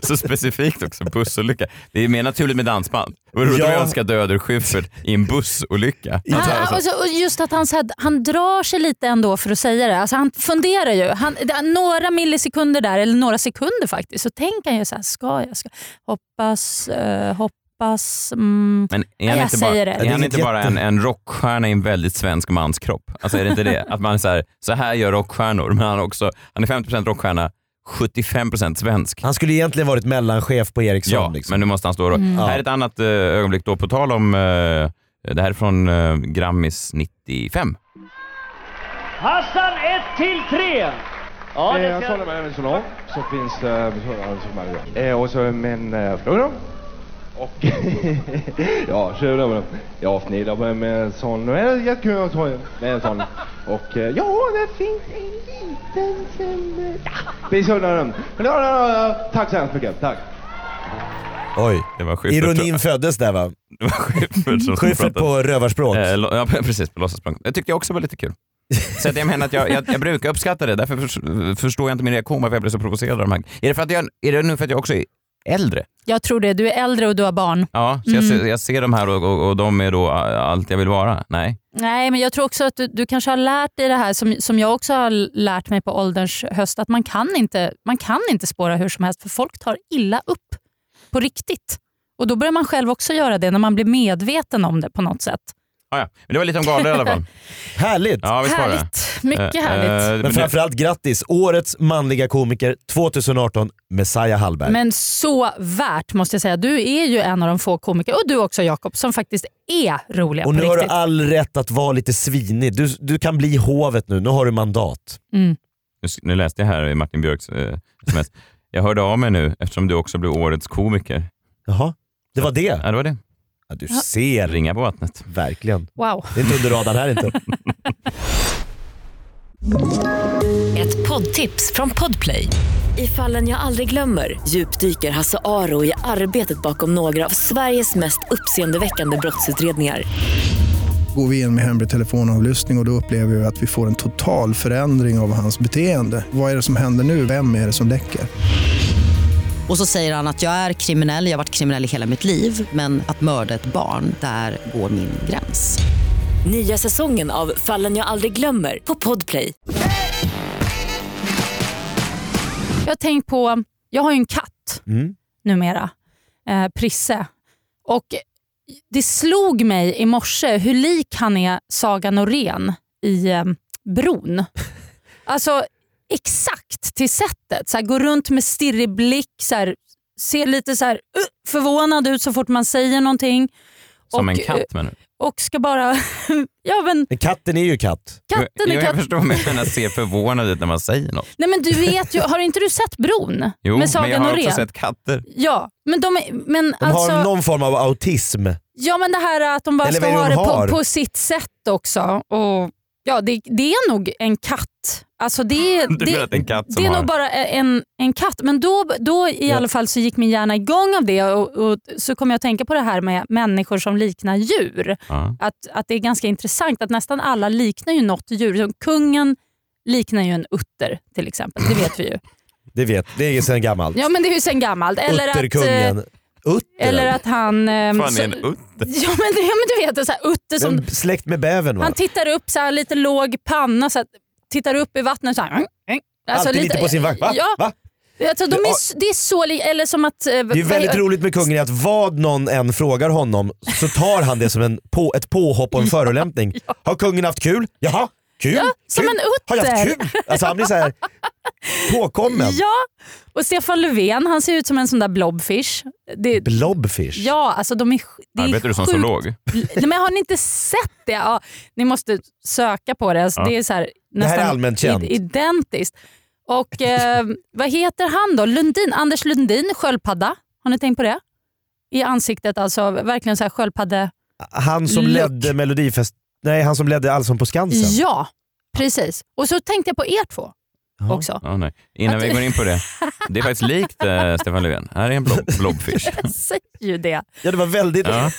[SPEAKER 1] Så specifikt också, bussolycka. Det är mer naturligt med dansband. Det var roligt
[SPEAKER 2] Ja.
[SPEAKER 1] om jag ska dö ur Schyffert i en bussolycka.
[SPEAKER 4] Han, han- och så- och just att han, så här, han drar sig lite ändå för att säga det. Alltså, han funderar ju. Han, det- några millisekunder där, eller några sekunder faktiskt, så tänker han ju så här, ska jag? Ska, hoppas, eh, hoppas. Mm.
[SPEAKER 1] Men är han
[SPEAKER 4] Jag
[SPEAKER 1] inte bara,
[SPEAKER 4] säger det.
[SPEAKER 1] är
[SPEAKER 4] Det
[SPEAKER 2] är
[SPEAKER 1] han
[SPEAKER 2] inget
[SPEAKER 1] inte bara en,
[SPEAKER 2] jätte-
[SPEAKER 1] en rockstjärna i en väldigt svensk mans kropp? Alltså är det inte det? Att man är så här, så här gör rockstjärnor, men han, är också, han är 50% rockstjärna, 75% svensk.
[SPEAKER 2] Han skulle egentligen varit mellanchef på Ericsson.
[SPEAKER 1] Ja,
[SPEAKER 2] liksom.
[SPEAKER 1] men nu måste han stå och
[SPEAKER 4] Mm.
[SPEAKER 2] Ja.
[SPEAKER 1] Här är ett annat eh, ögonblick då, på tal om, eh, det här är från eh, Grammis 95.
[SPEAKER 10] Hassan 1 till 3. Ja, det
[SPEAKER 11] Eh, Jag
[SPEAKER 10] ser...
[SPEAKER 11] talar med en sonom som finns eh, som varje dag. Och så min eh, bror då. Och ja, tjuv då. Jag fnilar på med en sån. Det är jättekul att ta med en sån. Och eh, ja, det finns en liten som... eh, Ja, vi surrar den. Men ja, ja, ja, Tack så hemskt mycket. Tack.
[SPEAKER 2] Oj.
[SPEAKER 1] Det var Schyffert,
[SPEAKER 2] Ironin föddes där va?
[SPEAKER 1] det var Schyffert som
[SPEAKER 2] Schyffert
[SPEAKER 1] pratade.
[SPEAKER 2] på rövarspråk.
[SPEAKER 1] Eh, lo- Ja, precis. På låtsaspråk. Det tyckte jag också var lite kul. Så att jag menar att jag, jag, jag brukar uppskatta det. Därför förs- förstår jag inte min reaktion varför jag blev så provocerad av de här. Är det, för att jag, är det nu för att jag också är äldre?
[SPEAKER 4] Jag tror det. Du är äldre och du har barn.
[SPEAKER 1] Ja, så jag,
[SPEAKER 4] Mm.
[SPEAKER 1] ser, jag ser de här och, och, och de är då a- allt jag vill vara. Nej.
[SPEAKER 4] Nej, men jag tror också att du, du kanske har lärt dig det här som, som jag också har lärt mig på ålderns höst, att man kan, inte, man kan inte spåra hur som helst för folk tar illa upp på riktigt. Och Då börjar man själv också göra det när man blir medveten om det på något sätt.
[SPEAKER 1] Ah, ja. Men det var lite om galor i alla fall.
[SPEAKER 2] Härligt!
[SPEAKER 1] Ja, visst var det.
[SPEAKER 4] Härligt! Mycket
[SPEAKER 1] Eh,
[SPEAKER 4] härligt.
[SPEAKER 1] eh,
[SPEAKER 2] Men framförallt grattis, årets manliga komiker 2018, Messiah Hallberg.
[SPEAKER 4] Men så värt måste jag säga. Du är ju en av de få komiker, och du också Jakob, som faktiskt är roliga
[SPEAKER 2] och
[SPEAKER 4] på
[SPEAKER 2] nu har du
[SPEAKER 4] riktigt.
[SPEAKER 2] all rätt att vara lite svinig. Du, du kan bli hovet nu, nu har du mandat.
[SPEAKER 1] Nu, s- nu läste jag här i Martin Björks eh, sms. Jag hörde av mig nu eftersom du också blev årets komiker.
[SPEAKER 2] Jaha, det var det?
[SPEAKER 1] Ja, det var det.
[SPEAKER 2] Ja, du ser,
[SPEAKER 1] Ringa på vattnet.
[SPEAKER 2] verkligen.
[SPEAKER 4] Wow.
[SPEAKER 2] Det är inte under radarn här inte.
[SPEAKER 12] Ett poddtips från Podplay. I fallen jag aldrig glömmer djupdyker Hasse Aro i arbetet bakom några av Sveriges mest uppseendeväckande brottsutredningar.
[SPEAKER 13] Går vi in med hemlig telefonavlyssning och, och då upplever vi att vi får en total förändring av hans beteende. Vad är det som händer nu? Vem är det som läcker?
[SPEAKER 14] Och så säger han att jag är kriminell, jag har varit kriminell i hela mitt liv men att mörda ett barn, där går min gräns.
[SPEAKER 12] Nya säsongen av Fallen jag aldrig glömmer på Podplay.
[SPEAKER 4] Jag har tänkt på, jag har ju en katt
[SPEAKER 2] Mm.
[SPEAKER 4] numera, eh, Prisse. Och det slog mig i morse hur lik han är Saga Norén i eh, Bron. Alltså exakt till sättet. Så här, går runt med stirrig blick, så här, ser lite så här, "Uh", förvånad ut så fort man säger någonting.
[SPEAKER 1] Som
[SPEAKER 4] och,
[SPEAKER 1] en katt menar du?
[SPEAKER 4] eh, Och ska bara... ja, men
[SPEAKER 2] Men katten är ju katt.
[SPEAKER 4] katten
[SPEAKER 1] jag,
[SPEAKER 4] är
[SPEAKER 1] jag, jag
[SPEAKER 4] katt.
[SPEAKER 1] förstår, men jag menar ser förvånad ut när man säger något.
[SPEAKER 4] Nej, men du vet ju, har inte du sett Bron?
[SPEAKER 1] Jo,
[SPEAKER 4] med Saga
[SPEAKER 1] men jag har
[SPEAKER 4] Norén?
[SPEAKER 1] också sett katter.
[SPEAKER 4] Ja, men, de, är- men
[SPEAKER 2] De
[SPEAKER 4] alltså...
[SPEAKER 2] har någon form av autism.
[SPEAKER 4] Ja men det här att de bara
[SPEAKER 2] Eller
[SPEAKER 4] ska
[SPEAKER 2] vad är
[SPEAKER 4] ha
[SPEAKER 2] det
[SPEAKER 4] det
[SPEAKER 2] de har?
[SPEAKER 4] på, på sitt sätt också. Och, ja, det, det är nog en katt. Alltså det,
[SPEAKER 1] Du menar
[SPEAKER 4] det,
[SPEAKER 1] att det är en katt som
[SPEAKER 4] det är
[SPEAKER 1] har-
[SPEAKER 4] nog bara e- en, en katt. Men då, då i
[SPEAKER 2] Ja.
[SPEAKER 4] alla fall så gick min hjärna igång av det och, och så kom jag att tänka på det här med människor som liknar djur.
[SPEAKER 1] Ja.
[SPEAKER 4] Att, att det är ganska intressant att nästan alla liknar ju något djur. Som kungen liknar ju en utter till exempel. Det vet vi ju.
[SPEAKER 2] Det vet, det är sedan gammalt.
[SPEAKER 4] Ja men det är ju sen gammalt. Eller att,
[SPEAKER 2] Utterkungen.
[SPEAKER 4] eh,
[SPEAKER 2] Utter?
[SPEAKER 4] eller att han... ehm,
[SPEAKER 1] Fan,
[SPEAKER 4] så-
[SPEAKER 1] är en utter?
[SPEAKER 4] Ja men, det- ja, men du vet, en sån här utter som
[SPEAKER 2] Den Släkt med bävern va?
[SPEAKER 4] Han tittar upp, så här, lite låg panna, så här, tittar upp i vattnet. Så här, mm, mm. Alltså,
[SPEAKER 2] Alltid lite på sin vakt. Va?
[SPEAKER 4] Ja,
[SPEAKER 2] Va?
[SPEAKER 4] alltså, de är, s- det är så li- eller som att... eh,
[SPEAKER 2] Det är ju väldigt
[SPEAKER 4] vad-
[SPEAKER 2] roligt med kungen är att vad någon än frågar honom så tar han det som en på, ett påhopp och en förolämpning. Har kungen haft kul? Jaha, kul?
[SPEAKER 4] Ja, som
[SPEAKER 2] kul.
[SPEAKER 4] en
[SPEAKER 2] Har jag haft
[SPEAKER 4] utter.
[SPEAKER 2] kul? Alltså han blir så här påkommen.
[SPEAKER 4] Ja, och Stefan Löfven han ser ut som en sån där blobfish. Det,
[SPEAKER 2] Blobfish.
[SPEAKER 4] ja, alltså de är, sj- det är
[SPEAKER 1] Arbetar du som
[SPEAKER 4] sjukt-
[SPEAKER 1] zoolog?
[SPEAKER 4] Nej, men har ni inte sett det? Ja, ni måste söka på det. Alltså,
[SPEAKER 1] Ja.
[SPEAKER 4] Det är så här,
[SPEAKER 2] här är
[SPEAKER 4] nästan
[SPEAKER 2] allmänt känt.
[SPEAKER 4] id- identiskt. Och eh, vad heter han då? Lundin, Anders Lundin, sköldpadda. Har ni tänkt på det? I ansiktet alltså, verkligen så här sköldpadde...
[SPEAKER 2] Han som
[SPEAKER 4] Look.
[SPEAKER 2] ledde Melodifest... Nej, han som ledde Allsång på Skansen.
[SPEAKER 4] Ja, precis. Och så tänkte jag på er två. också.
[SPEAKER 1] Ja, nej. Innan
[SPEAKER 4] Att-
[SPEAKER 1] vi går in på det. Det är faktiskt likt eh, Stefan Löfven. Här är en blob, blobfish.
[SPEAKER 4] Jag säger ju det.
[SPEAKER 2] Ja det var väldigt...
[SPEAKER 1] Ja.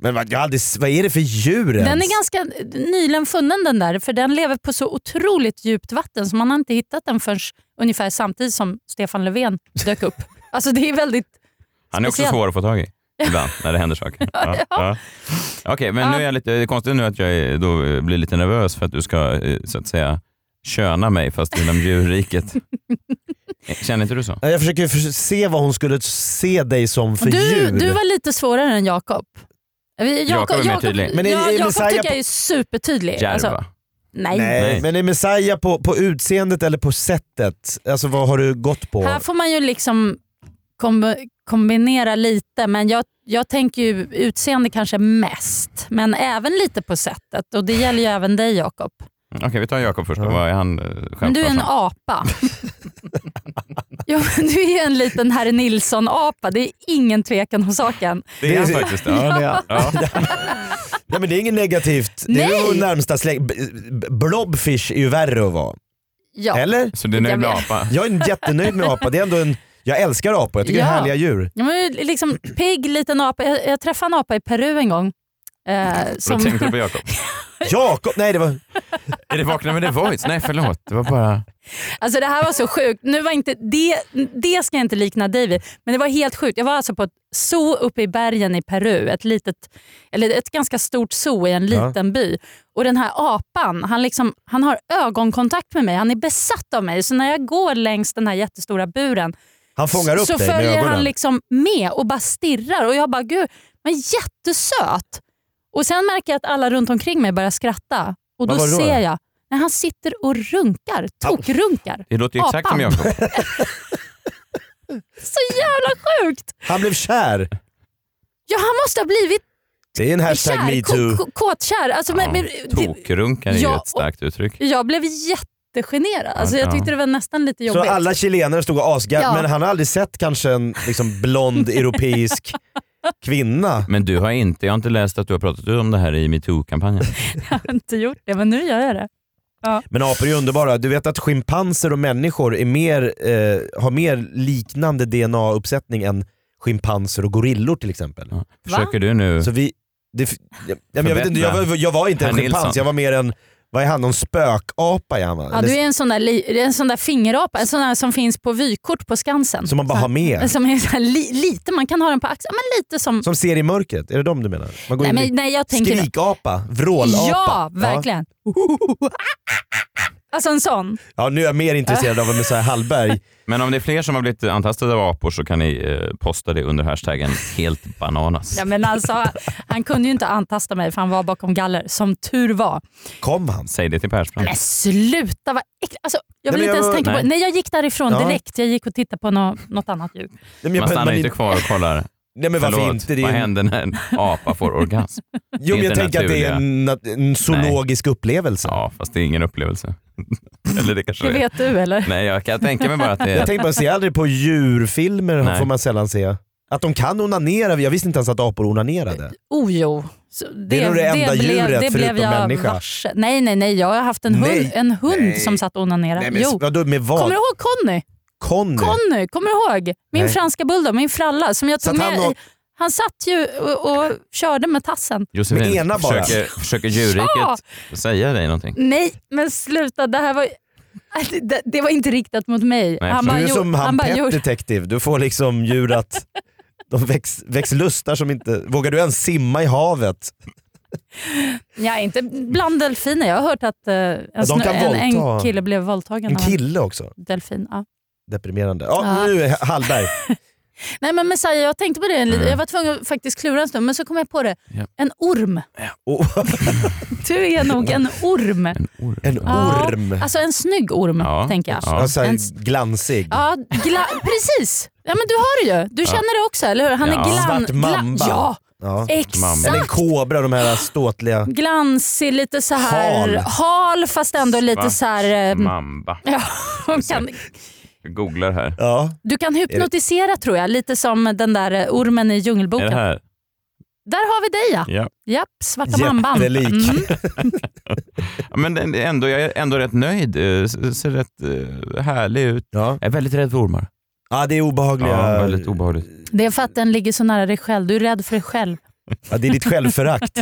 [SPEAKER 2] Men vad, jag hade, vad är det för djur
[SPEAKER 4] Den
[SPEAKER 2] ens?
[SPEAKER 4] är ganska nyligen funnen den där, för den lever på så otroligt djupt vatten så man har inte hittat den förrän ungefär samtidigt som Stefan Löfven dök upp. Alltså det är väldigt
[SPEAKER 1] Han är också
[SPEAKER 4] speciellt.
[SPEAKER 1] svår att få tag i ibland när det händer saker. Ja, ja. Okej, men nu är jag lite, det är konstigt nu att jag är- då eh, blir lite nervös för att du ska eh, så att säga köna mig fast inom djurriket. Eh, Känner inte du så?
[SPEAKER 2] Ja, Jag försöker för- se vad hon skulle se dig som för
[SPEAKER 4] Du,
[SPEAKER 2] djur.
[SPEAKER 4] du var lite svårare än Jakob. Vi-
[SPEAKER 2] Jakob är mer tydlig. Men är-
[SPEAKER 4] ja,
[SPEAKER 2] är
[SPEAKER 4] Jakob
[SPEAKER 2] Messiah
[SPEAKER 4] tycker
[SPEAKER 2] på-
[SPEAKER 4] jag är supertydlig.
[SPEAKER 2] Djärv,
[SPEAKER 4] Alltså,
[SPEAKER 2] va?
[SPEAKER 4] nej.
[SPEAKER 2] Nej. men är Messiah på, på utseendet eller på sättet? Alltså vad har du gått på?
[SPEAKER 4] Här får man ju liksom kom, kombinera lite, men jag, jag tänker ju utseende kanske mest. Men även lite på sättet och det gäller ju även dig Jakob.
[SPEAKER 1] Okej, vi tar Jakob först. då. Vad är han eh,
[SPEAKER 4] Men du är en
[SPEAKER 1] självklart?
[SPEAKER 4] apa. ja, men du är en liten herr Nilsson-apa. Det är ingen tvekan om saken.
[SPEAKER 1] Det är han faktiskt. Ja,
[SPEAKER 2] Ja.
[SPEAKER 1] Ja.
[SPEAKER 2] Nej men det är inget negativt. Det är
[SPEAKER 4] Nej.
[SPEAKER 2] ju närmsta släng. B- b- Blobfish är ju värre att vara.
[SPEAKER 4] Ja.
[SPEAKER 2] Eller?
[SPEAKER 1] Så du är nöjd Jag med med. apa?
[SPEAKER 2] Jag är jättenöjd med apa. Det är ändå en, jag älskar apor, jag tycker det
[SPEAKER 4] Ja.
[SPEAKER 2] är härliga djur.
[SPEAKER 4] Ja, men liksom pigg liten apa. Jag, jag träffade en apa i Peru en gång. Eh,
[SPEAKER 1] Då tänkte du på Jakob.
[SPEAKER 2] Jakob, nej det var...
[SPEAKER 1] Är det Vakna med The Voice? Nej, förlåt. Det var bara...
[SPEAKER 4] Alltså det här var så sjukt. Nu var inte, det, det ska jag inte likna dig vid, men det var helt sjukt. Jag var alltså på ett zoo uppe i bergen i Peru. Ett, litet, eller ett ganska stort zoo i en
[SPEAKER 15] Ja.
[SPEAKER 4] liten by. Och Den här apan han, liksom, han har ögonkontakt med mig. Han är besatt av mig. Så när jag går längs den här jättestora buren
[SPEAKER 2] Han fångar upp
[SPEAKER 4] så
[SPEAKER 2] dig med
[SPEAKER 4] följer han
[SPEAKER 2] ögonen.
[SPEAKER 4] liksom med och bara stirrar. Och Jag bara, gud, han är jättesöt. Och Sen märker jag att alla runt omkring mig börjar skratta. Och Då
[SPEAKER 1] Vad var det då?
[SPEAKER 4] ser jag när han sitter och runkar. Tokrunkar.
[SPEAKER 1] Det låter ju exakt som
[SPEAKER 4] Apan.
[SPEAKER 1] Jakob.
[SPEAKER 4] Så jävla sjukt!
[SPEAKER 2] Han blev kär.
[SPEAKER 4] Ja, han måste ha blivit
[SPEAKER 2] Det är en hashtag
[SPEAKER 4] kär,
[SPEAKER 2] metoo.
[SPEAKER 4] k- k- kåtkär. Alltså, men, men, det,
[SPEAKER 1] Tokrunkar är ju
[SPEAKER 4] Ja,
[SPEAKER 1] ett starkt uttryck.
[SPEAKER 4] jag blev jättegenerad. Alltså, jag
[SPEAKER 2] Ja.
[SPEAKER 4] tyckte det var nästan lite
[SPEAKER 2] Så
[SPEAKER 4] jobbigt.
[SPEAKER 2] alla chilenare stod och asgarvade,
[SPEAKER 4] Ja.
[SPEAKER 2] men han har aldrig sett kanske en liksom, blond europeisk kvinna.
[SPEAKER 1] Men du har inte, jag har inte läst att du har pratat om det här i metoo-kampanjen.
[SPEAKER 4] Jag har inte gjort det, men nu gör jag det. Ja.
[SPEAKER 2] Men apor är ju underbara. Du vet att schimpanser och människor är mer, eh, har mer liknande DNA-uppsättning än schimpanser och gorillor till exempel.
[SPEAKER 1] Försöker du nu...
[SPEAKER 2] Så vi, det, f- ja, men jag, vet inte, jag, var, jag var inte en
[SPEAKER 1] Mm. Herr Nilsson.
[SPEAKER 2] schimpans, jag var mer en, vad är han, någon spökapa är han va?
[SPEAKER 4] Ja, du är en sån, där li, en sån där fingerapa, en sån där som finns på vykort på Skansen.
[SPEAKER 2] Som man bara
[SPEAKER 4] Så-
[SPEAKER 2] har med.
[SPEAKER 4] Som är så här li, lite, man kan ha den på axeln, men lite som...
[SPEAKER 2] Som ser i mörkret, är det de du menar? Man
[SPEAKER 4] Nej,
[SPEAKER 2] in i-
[SPEAKER 4] men- nej, jag tänker-
[SPEAKER 2] Skrikapa, vrålapa.
[SPEAKER 4] ja, verkligen. Alltså en sån.
[SPEAKER 2] Ja. ja, nu är jag mer intresserad av en Messiah Hallberg.
[SPEAKER 1] Men om det är fler som har blivit antastade av apor så kan ni eh, posta det under hashtaggen helt bananas.
[SPEAKER 4] Ja, men alltså, han kunde ju inte antasta mig för han var bakom galler, som tur var.
[SPEAKER 2] Kom han?
[SPEAKER 1] Säg det till Persbrandt.
[SPEAKER 4] Men sluta vad äckligt. Alltså, jag vill
[SPEAKER 1] Nej, men jag
[SPEAKER 4] inte ens
[SPEAKER 1] var-
[SPEAKER 4] tänka på
[SPEAKER 1] Nej.
[SPEAKER 4] det. Nej, jag gick därifrån
[SPEAKER 1] Ja.
[SPEAKER 4] direkt. Jag gick och tittade på nå- något annat djur.
[SPEAKER 1] Man stannar inte kvar och kollar.
[SPEAKER 2] Nej, men varför inte? Det är
[SPEAKER 1] Vad
[SPEAKER 2] en-
[SPEAKER 1] händer när en apa får orgasm?
[SPEAKER 2] Jo men
[SPEAKER 1] Det är
[SPEAKER 2] jag
[SPEAKER 1] inte
[SPEAKER 2] tänker att det är
[SPEAKER 1] naturliga.
[SPEAKER 2] en, nat- en zoologisk upplevelse.
[SPEAKER 1] Ja, fast det är ingen upplevelse. Eller det kanske
[SPEAKER 4] Det
[SPEAKER 1] det är.
[SPEAKER 4] vet du eller?
[SPEAKER 1] Nej, jag kan tänka mig bara att det är...
[SPEAKER 2] Jag tänkte bara, se aldrig på djurfilmer
[SPEAKER 1] Nej.
[SPEAKER 2] får man sällan se. Att de kan onanera, jag visste inte ens att apor onanerade.
[SPEAKER 4] Oh jo. Så det,
[SPEAKER 2] är nog det enda djuret förutom människa.
[SPEAKER 4] varse. Nej, nej, nej. Jag har haft en hund,
[SPEAKER 2] Nej.
[SPEAKER 4] en hund
[SPEAKER 2] Nej.
[SPEAKER 4] som satt och onanerade.
[SPEAKER 2] Nej, men,
[SPEAKER 4] jo.
[SPEAKER 2] vadå, med vad?
[SPEAKER 4] Kommer du ihåg Conny?
[SPEAKER 2] Conny?
[SPEAKER 4] Conny, kommer du ihåg? Min
[SPEAKER 2] Nej.
[SPEAKER 4] franska bulldog, min fralla som jag tog
[SPEAKER 2] Satt han
[SPEAKER 4] med. i-
[SPEAKER 2] och-
[SPEAKER 4] Han satt ju och, och körde med tassen.
[SPEAKER 1] Josefin,
[SPEAKER 2] Med ena bara.
[SPEAKER 1] Försöker, försöker djurriket säga dig någonting?
[SPEAKER 4] Nej, men sluta. Det här var ju- det, det var inte riktat mot mig.
[SPEAKER 2] Nej, du är
[SPEAKER 4] gjorde-
[SPEAKER 2] som han,
[SPEAKER 4] han bara
[SPEAKER 2] Pet
[SPEAKER 4] gjorde-
[SPEAKER 2] Detective, du får liksom djur att de väcks, väcks lustar som inte... Vågar du ens simma i havet?
[SPEAKER 4] Ja, inte bland delfiner. Jag har hört att eh, en,
[SPEAKER 2] de
[SPEAKER 4] snö-
[SPEAKER 2] kan
[SPEAKER 4] en, en
[SPEAKER 2] våldta.
[SPEAKER 4] kille blev våldtagen
[SPEAKER 2] En
[SPEAKER 4] av en
[SPEAKER 2] kille också?
[SPEAKER 4] delfin. Ja.
[SPEAKER 2] Deprimerande. Ja,
[SPEAKER 4] Ja.
[SPEAKER 2] nu är Hallberg.
[SPEAKER 4] Nej men Messiah, jag tänkte på det en liten-
[SPEAKER 2] Mm.
[SPEAKER 4] Jag var tvungen att faktiskt klura en stund, men så kom jag på det.
[SPEAKER 1] Ja.
[SPEAKER 4] En orm.
[SPEAKER 2] Oh.
[SPEAKER 4] Du är nog en orm. En
[SPEAKER 1] orm?
[SPEAKER 2] En orm.
[SPEAKER 4] Ja, alltså en snygg orm, Mm, tänker jag.
[SPEAKER 2] Ja. Alltså,
[SPEAKER 4] En,
[SPEAKER 2] glansig.
[SPEAKER 4] ja, gla- precis. Ja, men du har det ju. Du känner det också, eller hur? Han är glan...
[SPEAKER 2] Svart mamba.
[SPEAKER 4] Gla- ja,
[SPEAKER 2] Ja.
[SPEAKER 4] Exakt.
[SPEAKER 2] Eller en kobra, de här ståtliga.
[SPEAKER 4] glansig, lite så här
[SPEAKER 2] Hal.
[SPEAKER 4] hal fast ändå lite
[SPEAKER 1] Svart
[SPEAKER 4] så här... eh,
[SPEAKER 1] Mamba.
[SPEAKER 4] Ja, kan,
[SPEAKER 1] Jag googlar här.
[SPEAKER 2] Ja.
[SPEAKER 4] du kan hypnotisera tror jag, lite som den där eh, ormen i
[SPEAKER 1] Är
[SPEAKER 4] Djungelboken.
[SPEAKER 1] det här?
[SPEAKER 4] Där har vi dig ja.
[SPEAKER 1] Ja.
[SPEAKER 4] Japp, svarta mamban. Alltså Mm.
[SPEAKER 1] Ja, Men den- ändå, jag är ändå rätt nöjd. Eh, s- Ser rätt eh, härlig ut. Jag är väldigt rädd för ormar.
[SPEAKER 2] Ja, det är obehagliga...
[SPEAKER 1] Ja, väldigt obehagligt.
[SPEAKER 4] Det är för att den ligger så nära dig själv. Du är rädd för dig själv.
[SPEAKER 2] Ja, det är ditt självförakt.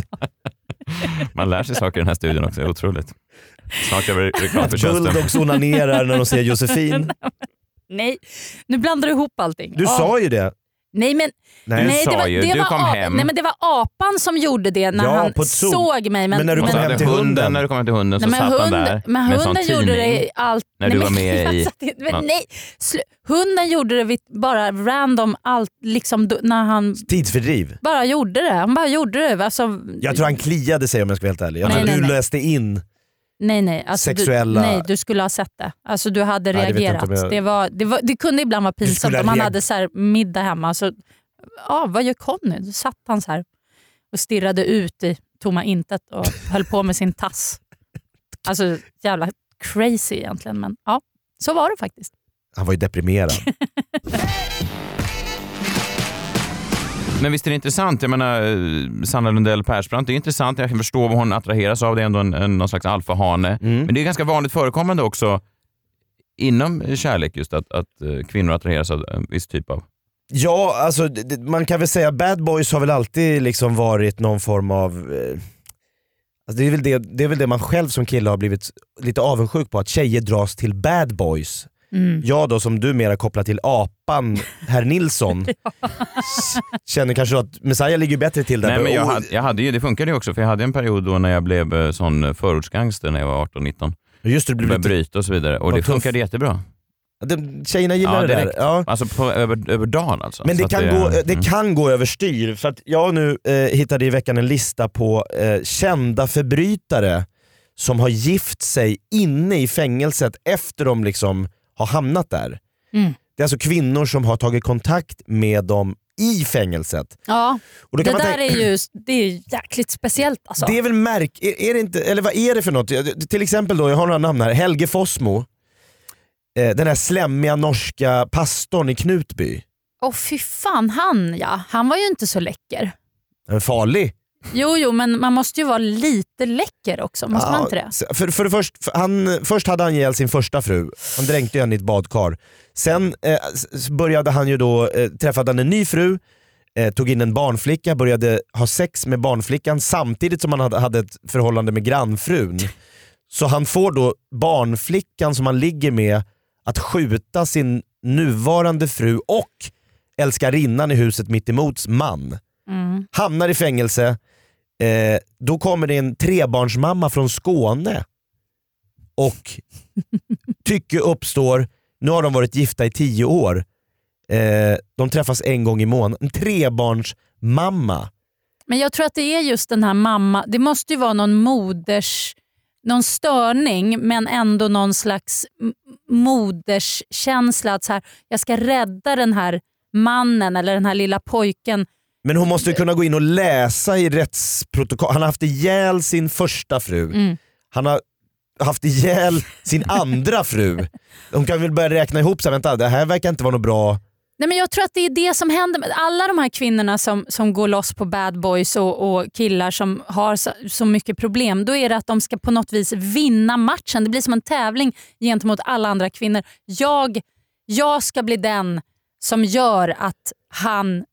[SPEAKER 1] Man lär sig saker i den här studion också. Det är otroligt. Snart gör vi reklam för
[SPEAKER 2] Att
[SPEAKER 1] tjänsten.
[SPEAKER 2] bulldogs onanerar när de ser Josefin.
[SPEAKER 4] Nej, nu blandar du ihop allting.
[SPEAKER 2] Du
[SPEAKER 4] Ja.
[SPEAKER 2] sa ju det.
[SPEAKER 4] Nej men,
[SPEAKER 2] Nej. Du sa
[SPEAKER 4] det var,
[SPEAKER 2] ju,
[SPEAKER 4] det
[SPEAKER 2] du
[SPEAKER 4] var
[SPEAKER 2] kom
[SPEAKER 4] ap-
[SPEAKER 1] hem.
[SPEAKER 4] Nej, men det var apan som gjorde det när
[SPEAKER 1] Ja, på
[SPEAKER 4] han
[SPEAKER 1] ett zoo.
[SPEAKER 4] såg mig. Men,
[SPEAKER 1] Och så hade hunden. När du kom hem till hunden så
[SPEAKER 4] Nej, men
[SPEAKER 1] satt han
[SPEAKER 4] hund-
[SPEAKER 1] där
[SPEAKER 4] men
[SPEAKER 1] med en sån
[SPEAKER 4] hunden gjorde
[SPEAKER 1] tidning.
[SPEAKER 4] det i allt.
[SPEAKER 1] När
[SPEAKER 4] nej,
[SPEAKER 1] du var med
[SPEAKER 4] jag
[SPEAKER 1] i-
[SPEAKER 4] satt inte-
[SPEAKER 1] Ja.
[SPEAKER 4] Men, nej, slu, hunden gjorde det vid, bara random, allt, liksom, då- när han
[SPEAKER 2] Tidsfördriv.
[SPEAKER 4] bara gjorde det. Han bara gjorde det. Alltså,
[SPEAKER 2] Jag tror han kliade sig om jag ska vara helt ärlig. Jag
[SPEAKER 4] Nej,
[SPEAKER 2] tror
[SPEAKER 4] nej,
[SPEAKER 2] du
[SPEAKER 4] nej.
[SPEAKER 2] läste in.
[SPEAKER 4] Nej, nej. Alltså,
[SPEAKER 2] Sexuella-
[SPEAKER 4] du, nej, du skulle ha sett det. Alltså, du hade
[SPEAKER 2] Nej, det vet jag
[SPEAKER 4] reagerat.
[SPEAKER 2] inte om
[SPEAKER 4] Det,
[SPEAKER 2] jag-
[SPEAKER 4] var, det, var, det kunde ibland vara pinsamt
[SPEAKER 2] skulle ha
[SPEAKER 4] om han
[SPEAKER 2] reag-
[SPEAKER 4] hade så här middag hemma. Så, ja, vad gör Conny? Då satt han så här och stirrade ut i tomma intet och höll på med sin tass. Alltså jävla crazy egentligen, men ja, så var det faktiskt.
[SPEAKER 2] Han var ju deprimerad.
[SPEAKER 1] Men visst är det intressant? Jag menar, eh, Sanna Lundell Persbrandt, det är intressant. Jag kan förstå vad hon attraheras av. Det är ändå en, en, någon slags
[SPEAKER 2] Mm.
[SPEAKER 1] alfahane. Men det är ganska vanligt förekommande också inom eh, kärlek just att, att eh, kvinnor attraheras av en viss typ av...
[SPEAKER 2] Ja, alltså d- d- man kan väl säga bad boys har väl alltid liksom varit någon form av... Eh, alltså det, är väl det, det är väl det man själv som kille har blivit lite avundsjuk på, att tjejer dras till bad boys.
[SPEAKER 4] Mm.
[SPEAKER 2] Jag då som du mera kopplar till apan, herr Nilsson, s- känner kanske att Messiah ligger bättre till där. Oh.
[SPEAKER 1] Nej, men jag
[SPEAKER 2] Och-
[SPEAKER 1] hade, jag hade ju, det funkade ju också, för jag hade en period då när jag blev eh, sån förortsgangster när jag var 18-19.
[SPEAKER 2] Just det, du blev
[SPEAKER 1] Började
[SPEAKER 2] lite-
[SPEAKER 1] bryta och så vidare. Och
[SPEAKER 2] Vad
[SPEAKER 1] det
[SPEAKER 2] tuff.
[SPEAKER 1] funkade jättebra.
[SPEAKER 2] de, tjejerna gillar det där.
[SPEAKER 1] direkt. Alltså på, över, över dagen alltså.
[SPEAKER 2] Men
[SPEAKER 1] Så
[SPEAKER 2] det
[SPEAKER 1] att
[SPEAKER 2] kan, gå, eh, det kan gå överstyr, för att jag nu eh, hittade i veckan en lista på eh, kända förbrytare som har gift sig inne i fängelset efter de liksom har hamnat där.
[SPEAKER 4] Mm.
[SPEAKER 2] Det är alltså kvinnor som har tagit kontakt med dem i fängelset.
[SPEAKER 4] Ja,
[SPEAKER 2] Och då
[SPEAKER 4] det
[SPEAKER 2] kan
[SPEAKER 4] där
[SPEAKER 2] man tänka-
[SPEAKER 4] är ju det är ju jäkligt speciellt. Alltså.
[SPEAKER 2] Det är väl märk... Är, är det inte, eller vad är det för något? Jag- Till exempel då, jag har några namn här. Helge Fossmo. Eh, den här slämmiga norska pastorn i Knutby.
[SPEAKER 4] Åh fy fan, han ja. Han var ju inte så läcker.
[SPEAKER 2] Den är Farlig.
[SPEAKER 4] Jo, jo, men man måste ju vara lite läcker också. Måste man
[SPEAKER 2] Ja,
[SPEAKER 4] inte det?
[SPEAKER 2] s- För, för det först, för han, först hade han ihjäl sin första fru, han dränkte henne i ett badkar. Sen eh, s- s- började han ju då, eh, träffade han en ny fru, eh, tog in en barnflicka, började ha sex med barnflickan samtidigt som han hade, hade ett förhållande med grannfrun. Så han får då barnflickan som han ligger med att skjuta sin nuvarande fru och älskarinnan i huset mittemots man
[SPEAKER 4] Mm.
[SPEAKER 2] hamnar i fängelse. Eh, då kommer det en trebarnsmamma från Skåne och tycke uppstår. Nu har de varit gifta i tio år. Eh, de träffas en gång i månaden. En trebarnsmamma.
[SPEAKER 4] Men jag tror att det är just den här mamma... Det måste ju vara någon moders... Någon störning men ändå någon slags m- moderskänsla att så här, jag ska rädda den här mannen eller den här lilla pojken.
[SPEAKER 2] Men hon måste ju kunna gå in och läsa i rättsprotokoll. Han har haft ihjäl sin första fru.
[SPEAKER 4] Mm.
[SPEAKER 2] Han har haft ihjäl sin andra fru. Hon kan väl börja räkna ihop, så här, vänta det här verkar inte vara något bra.
[SPEAKER 4] Nej, men jag tror att det är det som händer med alla de här kvinnorna som, som går loss på bad boys och, och killar som har så, så mycket problem. Då är det att de ska på något vis vinna matchen. Det blir som en tävling gentemot alla andra kvinnor. Jag, jag ska bli den som gör att han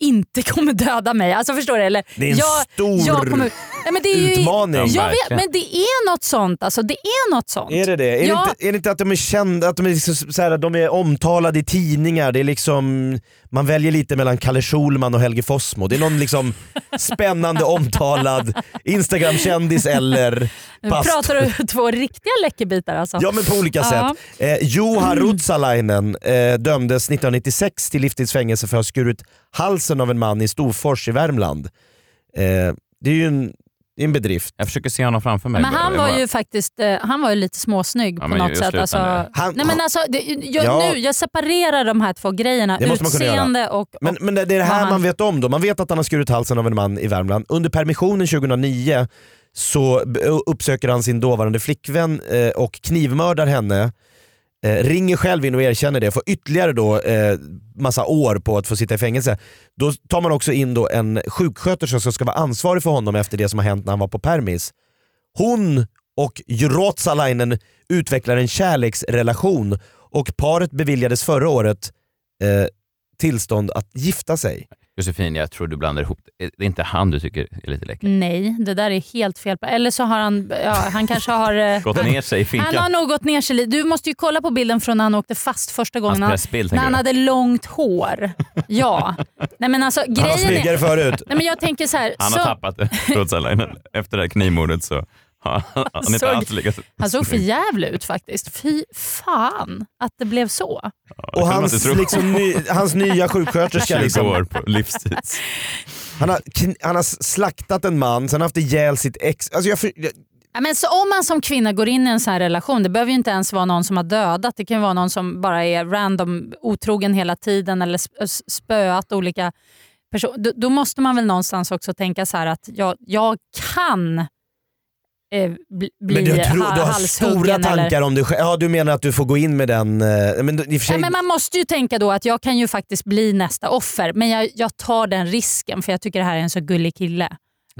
[SPEAKER 4] inte kommer döda mig. Alltså förstår du? Eller,
[SPEAKER 2] Det är en
[SPEAKER 4] jag,
[SPEAKER 2] stor
[SPEAKER 4] jag kommer, nej, men det är ju,
[SPEAKER 2] utmaning.
[SPEAKER 4] Jag vet,
[SPEAKER 2] Verkligen.
[SPEAKER 4] men det är något sånt. Alltså, det är något sånt.
[SPEAKER 2] Är det det? Är,
[SPEAKER 4] Ja.
[SPEAKER 2] det, inte, är det inte att de är kända, att de är, liksom så här, de är omtalade i tidningar? Det är liksom, man väljer lite mellan Kalle Schulman och Helge Fossmo. Det är någon liksom spännande omtalad Instagramkändis eller
[SPEAKER 4] Nu
[SPEAKER 2] past.
[SPEAKER 4] pratar du två riktiga läckerbitar alltså.
[SPEAKER 2] Ja men på olika
[SPEAKER 4] Ja.
[SPEAKER 2] sätt. Eh, Juha Ruotsalainen eh, dömdes 1996 till livstidsfängelse för att ha skurit halsen av en man i Storfors i Värmland. Eh, det är ju en, det är en bedrift.
[SPEAKER 1] Jag försöker se honom framför mig.
[SPEAKER 4] Men han var ju faktiskt eh, han var ju lite småsnygg
[SPEAKER 1] Ja,
[SPEAKER 4] på
[SPEAKER 1] men
[SPEAKER 4] något
[SPEAKER 1] just
[SPEAKER 4] sätt.
[SPEAKER 1] det,
[SPEAKER 4] Alltså,
[SPEAKER 1] utan
[SPEAKER 2] Han-
[SPEAKER 4] nej, men alltså, det, jag,
[SPEAKER 2] Ja.
[SPEAKER 4] nu, jag separerar de här två grejerna.
[SPEAKER 2] Det måste man kunna göra.
[SPEAKER 4] Utseende och...
[SPEAKER 2] Men, men det det är det
[SPEAKER 4] vad
[SPEAKER 2] här
[SPEAKER 4] han-
[SPEAKER 2] man vet om då. Man vet att han har skurit halsen av en man i Värmland. Under permissionen 2009 så b- uppsöker han sin dåvarande flickvän eh, och knivmördar henne. eh, ringer själv in och erkänner det, får ytterligare då eh, massa år på att få sitta i fängelse. Då tar man också in då en sjuksköterska som ska vara ansvarig för honom efter det som har hänt när han var på permis. Hon och Rotsalainen utvecklar en kärleksrelation och paret beviljades förra året eh, tillstånd att gifta sig.
[SPEAKER 1] Josefin, jag tror du blandar ihop. Det är inte han du tycker är lite läcker.
[SPEAKER 4] Nej, det där är helt fel. Eller så har han, ja, han kanske har... eh,
[SPEAKER 1] Gått ner sig i
[SPEAKER 4] Han har
[SPEAKER 1] finkan.
[SPEAKER 4] nog gått ner sig lite. Du måste ju kolla på bilden från när han åkte fast första gången.
[SPEAKER 1] Hans
[SPEAKER 4] Han-
[SPEAKER 1] pressbild,
[SPEAKER 4] när
[SPEAKER 1] tänker
[SPEAKER 4] han
[SPEAKER 1] du?
[SPEAKER 4] hade långt hår. Ja. Nej men alltså
[SPEAKER 1] var
[SPEAKER 4] grejen
[SPEAKER 1] snyggare
[SPEAKER 4] är...
[SPEAKER 1] förut.
[SPEAKER 4] Nej men jag tänker så här.
[SPEAKER 1] Han
[SPEAKER 4] så,
[SPEAKER 1] har tappat det, Rotsalainen. Efter det här knivmordet så har han, han är
[SPEAKER 4] såg-
[SPEAKER 1] inte alls lika...
[SPEAKER 4] han såg för jävla ut faktiskt. Fy fan att det blev så.
[SPEAKER 2] Och hans, liksom, ny, hans nya sjuksköterska
[SPEAKER 1] 20
[SPEAKER 2] liksom.
[SPEAKER 1] år på livstid.
[SPEAKER 2] Han har, kn- han har slaktat en man, sen haft ihjäl sitt ex. Alltså jag, för- jag,
[SPEAKER 4] Ja, men så om man som kvinna går in i en sån här relation, det behöver ju inte ens vara någon som har dödat. Det kan ju vara någon som bara är random otrogen hela tiden eller sp- s- spöat olika personer. Då, då måste man väl någonstans också tänka så här att jag, jag kan eh, bli
[SPEAKER 2] men du, tror,
[SPEAKER 4] ha-
[SPEAKER 2] du har
[SPEAKER 4] halshuggen
[SPEAKER 2] stora tankar
[SPEAKER 4] eller,
[SPEAKER 2] om dig själv. Ja, du menar att du får gå in med den... eh, Men, då- i och för sig,
[SPEAKER 4] Ja, men man måste ju tänka då att jag kan ju faktiskt bli nästa offer, men jag, jag tar den risken för jag tycker det här är en så gullig kille.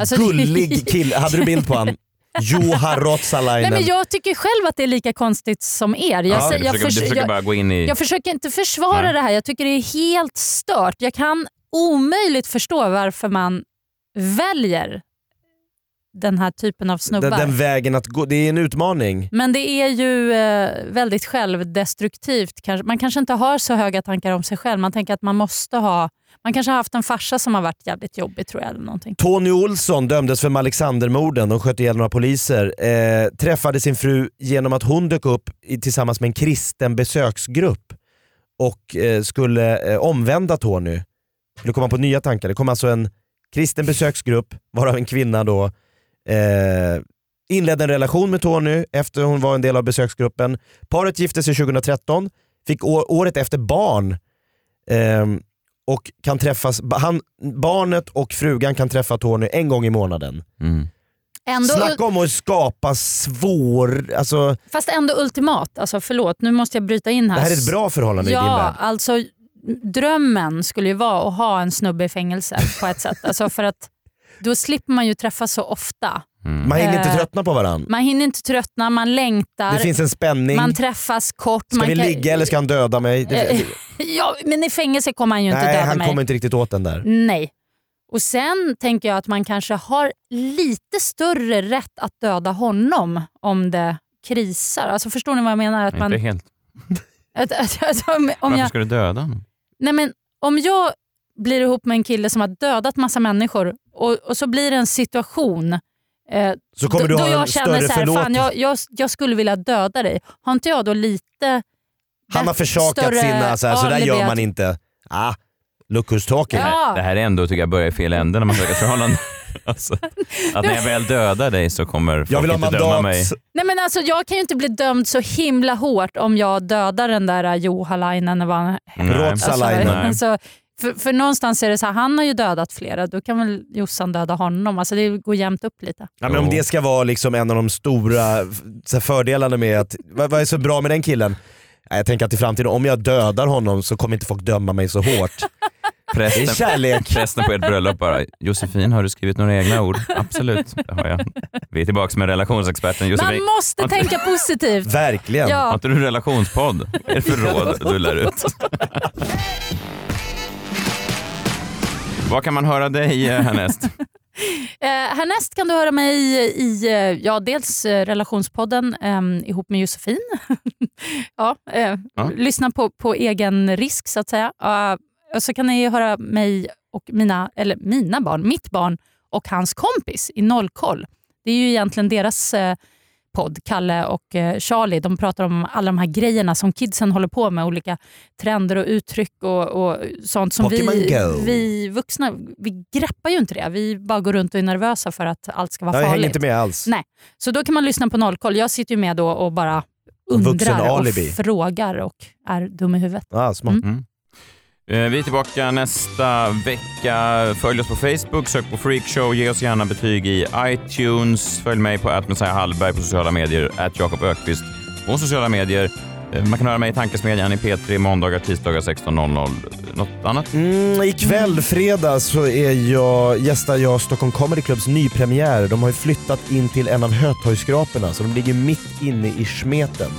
[SPEAKER 4] Alltså, det-
[SPEAKER 2] Gullig kille. Hade du bild på han? Juha Rotsalainen.
[SPEAKER 4] Nej, men jag tycker själv att det är lika konstigt som er. Jag,
[SPEAKER 1] Ja,
[SPEAKER 4] sä-
[SPEAKER 1] du
[SPEAKER 4] jag,
[SPEAKER 1] försöker- du
[SPEAKER 4] förs-
[SPEAKER 1] försöker
[SPEAKER 4] jag,
[SPEAKER 1] bara gå in i-
[SPEAKER 4] jag försöker inte försvara
[SPEAKER 1] Nej.
[SPEAKER 4] det här. Jag tycker det är helt stört. Jag kan omöjligt förstå varför man väljer den här typen av snubbar.
[SPEAKER 2] den, den vägen att gå, det är en utmaning.
[SPEAKER 4] Men det är ju eh, väldigt självdestruktivt. Kanske. Man kanske inte har så höga tankar om sig själv. Man tänker att man måste ha... Man kanske har haft en farsa som har varit jävligt jobbig tror jag. Eller någonting.
[SPEAKER 2] Tony Olsson dömdes för Alexandermorden, de sköt ihjäl några poliser. Eh, träffade sin fru genom att hon dök upp i, tillsammans med en kristen besöksgrupp och eh, skulle eh, omvända Tony. Skulle komma på nya tankar. Det kom alltså en kristen besöksgrupp, varav en kvinna då eh, inledde en relation med Tony efter hon var en del av besöksgruppen. Paret gifte sig 2013, fick å- året efter barn Ehm, och kan träffas, ba- han, barnet och frugan kan träffa Tony en gång i månaden.
[SPEAKER 1] Mm,
[SPEAKER 4] Ändå,
[SPEAKER 2] Snacka om att skapa svår... Alltså,
[SPEAKER 4] Fast ändå ultimat. Alltså, förlåt, nu måste jag bryta in
[SPEAKER 2] det
[SPEAKER 4] här.
[SPEAKER 2] här är ett bra förhållande i din
[SPEAKER 4] Alltså, Ja,
[SPEAKER 2] värld.
[SPEAKER 4] alltså drömmen skulle ju vara att ha en snubbe i fängelse på ett sätt. Alltså för att då slipper man ju träffas så ofta.
[SPEAKER 1] mm.
[SPEAKER 2] Man hinner inte
[SPEAKER 4] Eh,
[SPEAKER 2] tröttna på varandra.
[SPEAKER 4] Man hinner inte tröttna, man längtar.
[SPEAKER 2] Det finns en spänning.
[SPEAKER 4] Man träffas kort.
[SPEAKER 2] Ska
[SPEAKER 4] man
[SPEAKER 2] vi
[SPEAKER 4] kan-
[SPEAKER 2] ligga eller ska han döda mig? Det-
[SPEAKER 4] ja, men i fängelse kommer han ju inte
[SPEAKER 2] Nej,
[SPEAKER 4] döda
[SPEAKER 2] han
[SPEAKER 4] mig.
[SPEAKER 2] kommer inte riktigt åt den där.
[SPEAKER 4] Nej. Och Sen tänker jag att man kanske har lite större rätt att döda honom om det krisar. Alltså förstår ni vad jag menar? Att man,
[SPEAKER 1] Inte helt.
[SPEAKER 4] att, att, att, om, om
[SPEAKER 1] Varför
[SPEAKER 4] jag,
[SPEAKER 1] ska du döda honom?
[SPEAKER 4] Nej, men om jag blir ihop med en kille som har dödat massa människor och, och så blir det en situation eh,
[SPEAKER 2] Så kommer du
[SPEAKER 4] då, då
[SPEAKER 2] ha en
[SPEAKER 4] jag känner
[SPEAKER 2] större
[SPEAKER 4] så här, fan,
[SPEAKER 2] förlåtelse."
[SPEAKER 4] jag, jag, jag skulle vilja döda dig. Har inte jag då lite
[SPEAKER 2] Han har
[SPEAKER 4] bättre-
[SPEAKER 2] försakat
[SPEAKER 4] större
[SPEAKER 2] sina, så, här, så där
[SPEAKER 4] alibi
[SPEAKER 2] gör
[SPEAKER 4] att-
[SPEAKER 2] man inte. Ah, look who's talking.
[SPEAKER 4] Ja.
[SPEAKER 1] Det här är ändå, tycker jag, börjar i fel ände när man söker förhållande. Alltså, att när jag väl dödar dig så kommer
[SPEAKER 2] vill
[SPEAKER 1] folk
[SPEAKER 2] ha
[SPEAKER 1] inte döma
[SPEAKER 2] mandat.
[SPEAKER 1] mig.
[SPEAKER 4] Nej, men alltså, jag kan ju inte bli dömd så himla hårt om jag dödar den där eh, Juhalainen. eller vad han-
[SPEAKER 1] Nej.
[SPEAKER 2] Rotsalainen.
[SPEAKER 1] Nej.
[SPEAKER 4] Alltså, för, för någonstans är det så här, han har ju dödat flera, då kan väl Jossan döda honom. Alltså, det går jämnt upp lite.
[SPEAKER 2] Ja, men om det ska vara liksom en av de stora f- så här, fördelarna med att, vad, vad är så bra med den killen? Nej, Jag tänker att i framtiden, om jag dödar honom så kommer inte folk döma mig så hårt. Det är kärlek.
[SPEAKER 1] Prästen på ert bröllop bara, Josefin har du skrivit några egna ord? Absolut, det har jag. Vi är tillbaka med relationsexperten Josefin.
[SPEAKER 4] Man måste tänka positivt.
[SPEAKER 2] Verkligen.
[SPEAKER 4] Ja.
[SPEAKER 1] Har inte du relationspodd? Vad är det för råd du lär ut? Vad kan man höra dig eh, härnäst?
[SPEAKER 4] Eh, härnäst kan du höra mig i eh, ja, dels eh, relationspodden eh, ihop med Josefin. ja, eh,
[SPEAKER 1] Ja.
[SPEAKER 4] Lyssna på, på egen risk så att säga. Eh, och så kan ni höra mig och mina, eller mina barn, mitt barn och hans kompis i Nollkoll. Det är ju egentligen deras eh, podd, Kalle och eh, Charlie. De pratar om alla de här grejerna som kidsen håller på med. Olika trender och uttryck och, och sånt som
[SPEAKER 2] Pokémon
[SPEAKER 4] vi,
[SPEAKER 2] Go.
[SPEAKER 4] vi vuxna vi greppar ju inte det. Vi bara går runt och är nervösa för att allt ska vara
[SPEAKER 2] Jag hänger
[SPEAKER 4] farligt.
[SPEAKER 2] inte med alls.
[SPEAKER 4] Nej. Så då kan man lyssna på nollkoll. Jag sitter ju med då och bara
[SPEAKER 2] Vuxen
[SPEAKER 4] undrar och
[SPEAKER 1] alibi.
[SPEAKER 4] frågar och är dum i huvudet.
[SPEAKER 2] Ah, smart.
[SPEAKER 1] Eh, Vi är tillbaka nästa vecka. Följ oss på Facebook, sök på Freakshow, ge oss gärna betyg i iTunes. Följ mig på att Messiah Hallberg på sociala medier, att Jakob Ökvist på sociala medier. Eh, Man kan höra mig i Tankesmedjan i P3 måndagar, tisdagar 16.00. Något annat?
[SPEAKER 2] Mm, ikväll fredag så är jag, gästar jag Stockholm Comedy Clubs nypremiär. De har ju flyttat in till en av Hötorgsskraporna så de ligger mitt inne i smeten.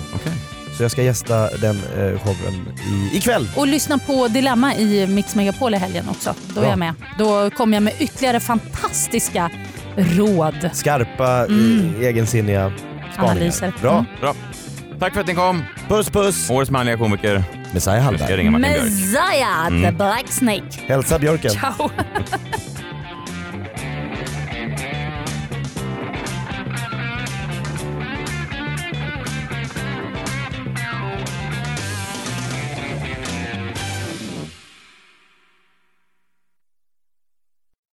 [SPEAKER 2] Så jag ska gästa den eh, showen i, ikväll.
[SPEAKER 4] Och lyssna på Dilemma i Mix Megapol i helgen också. Då är
[SPEAKER 2] Ja.
[SPEAKER 4] jag med. Då kommer jag med ytterligare fantastiska råd.
[SPEAKER 2] Skarpa,
[SPEAKER 4] Mm.
[SPEAKER 2] eh, egensinniga spaningar.
[SPEAKER 4] Analyser.
[SPEAKER 2] Bra.
[SPEAKER 4] Mm.
[SPEAKER 1] Bra. Tack för att ni kom.
[SPEAKER 2] Puss puss.
[SPEAKER 1] Årets manliga komiker.
[SPEAKER 2] Messiah Hallberg.
[SPEAKER 1] Jag ska ringa Martin Björk.
[SPEAKER 4] Messiah,
[SPEAKER 1] Mm.
[SPEAKER 4] the Black Snake.
[SPEAKER 2] Hälsa Björken.
[SPEAKER 4] Ciao.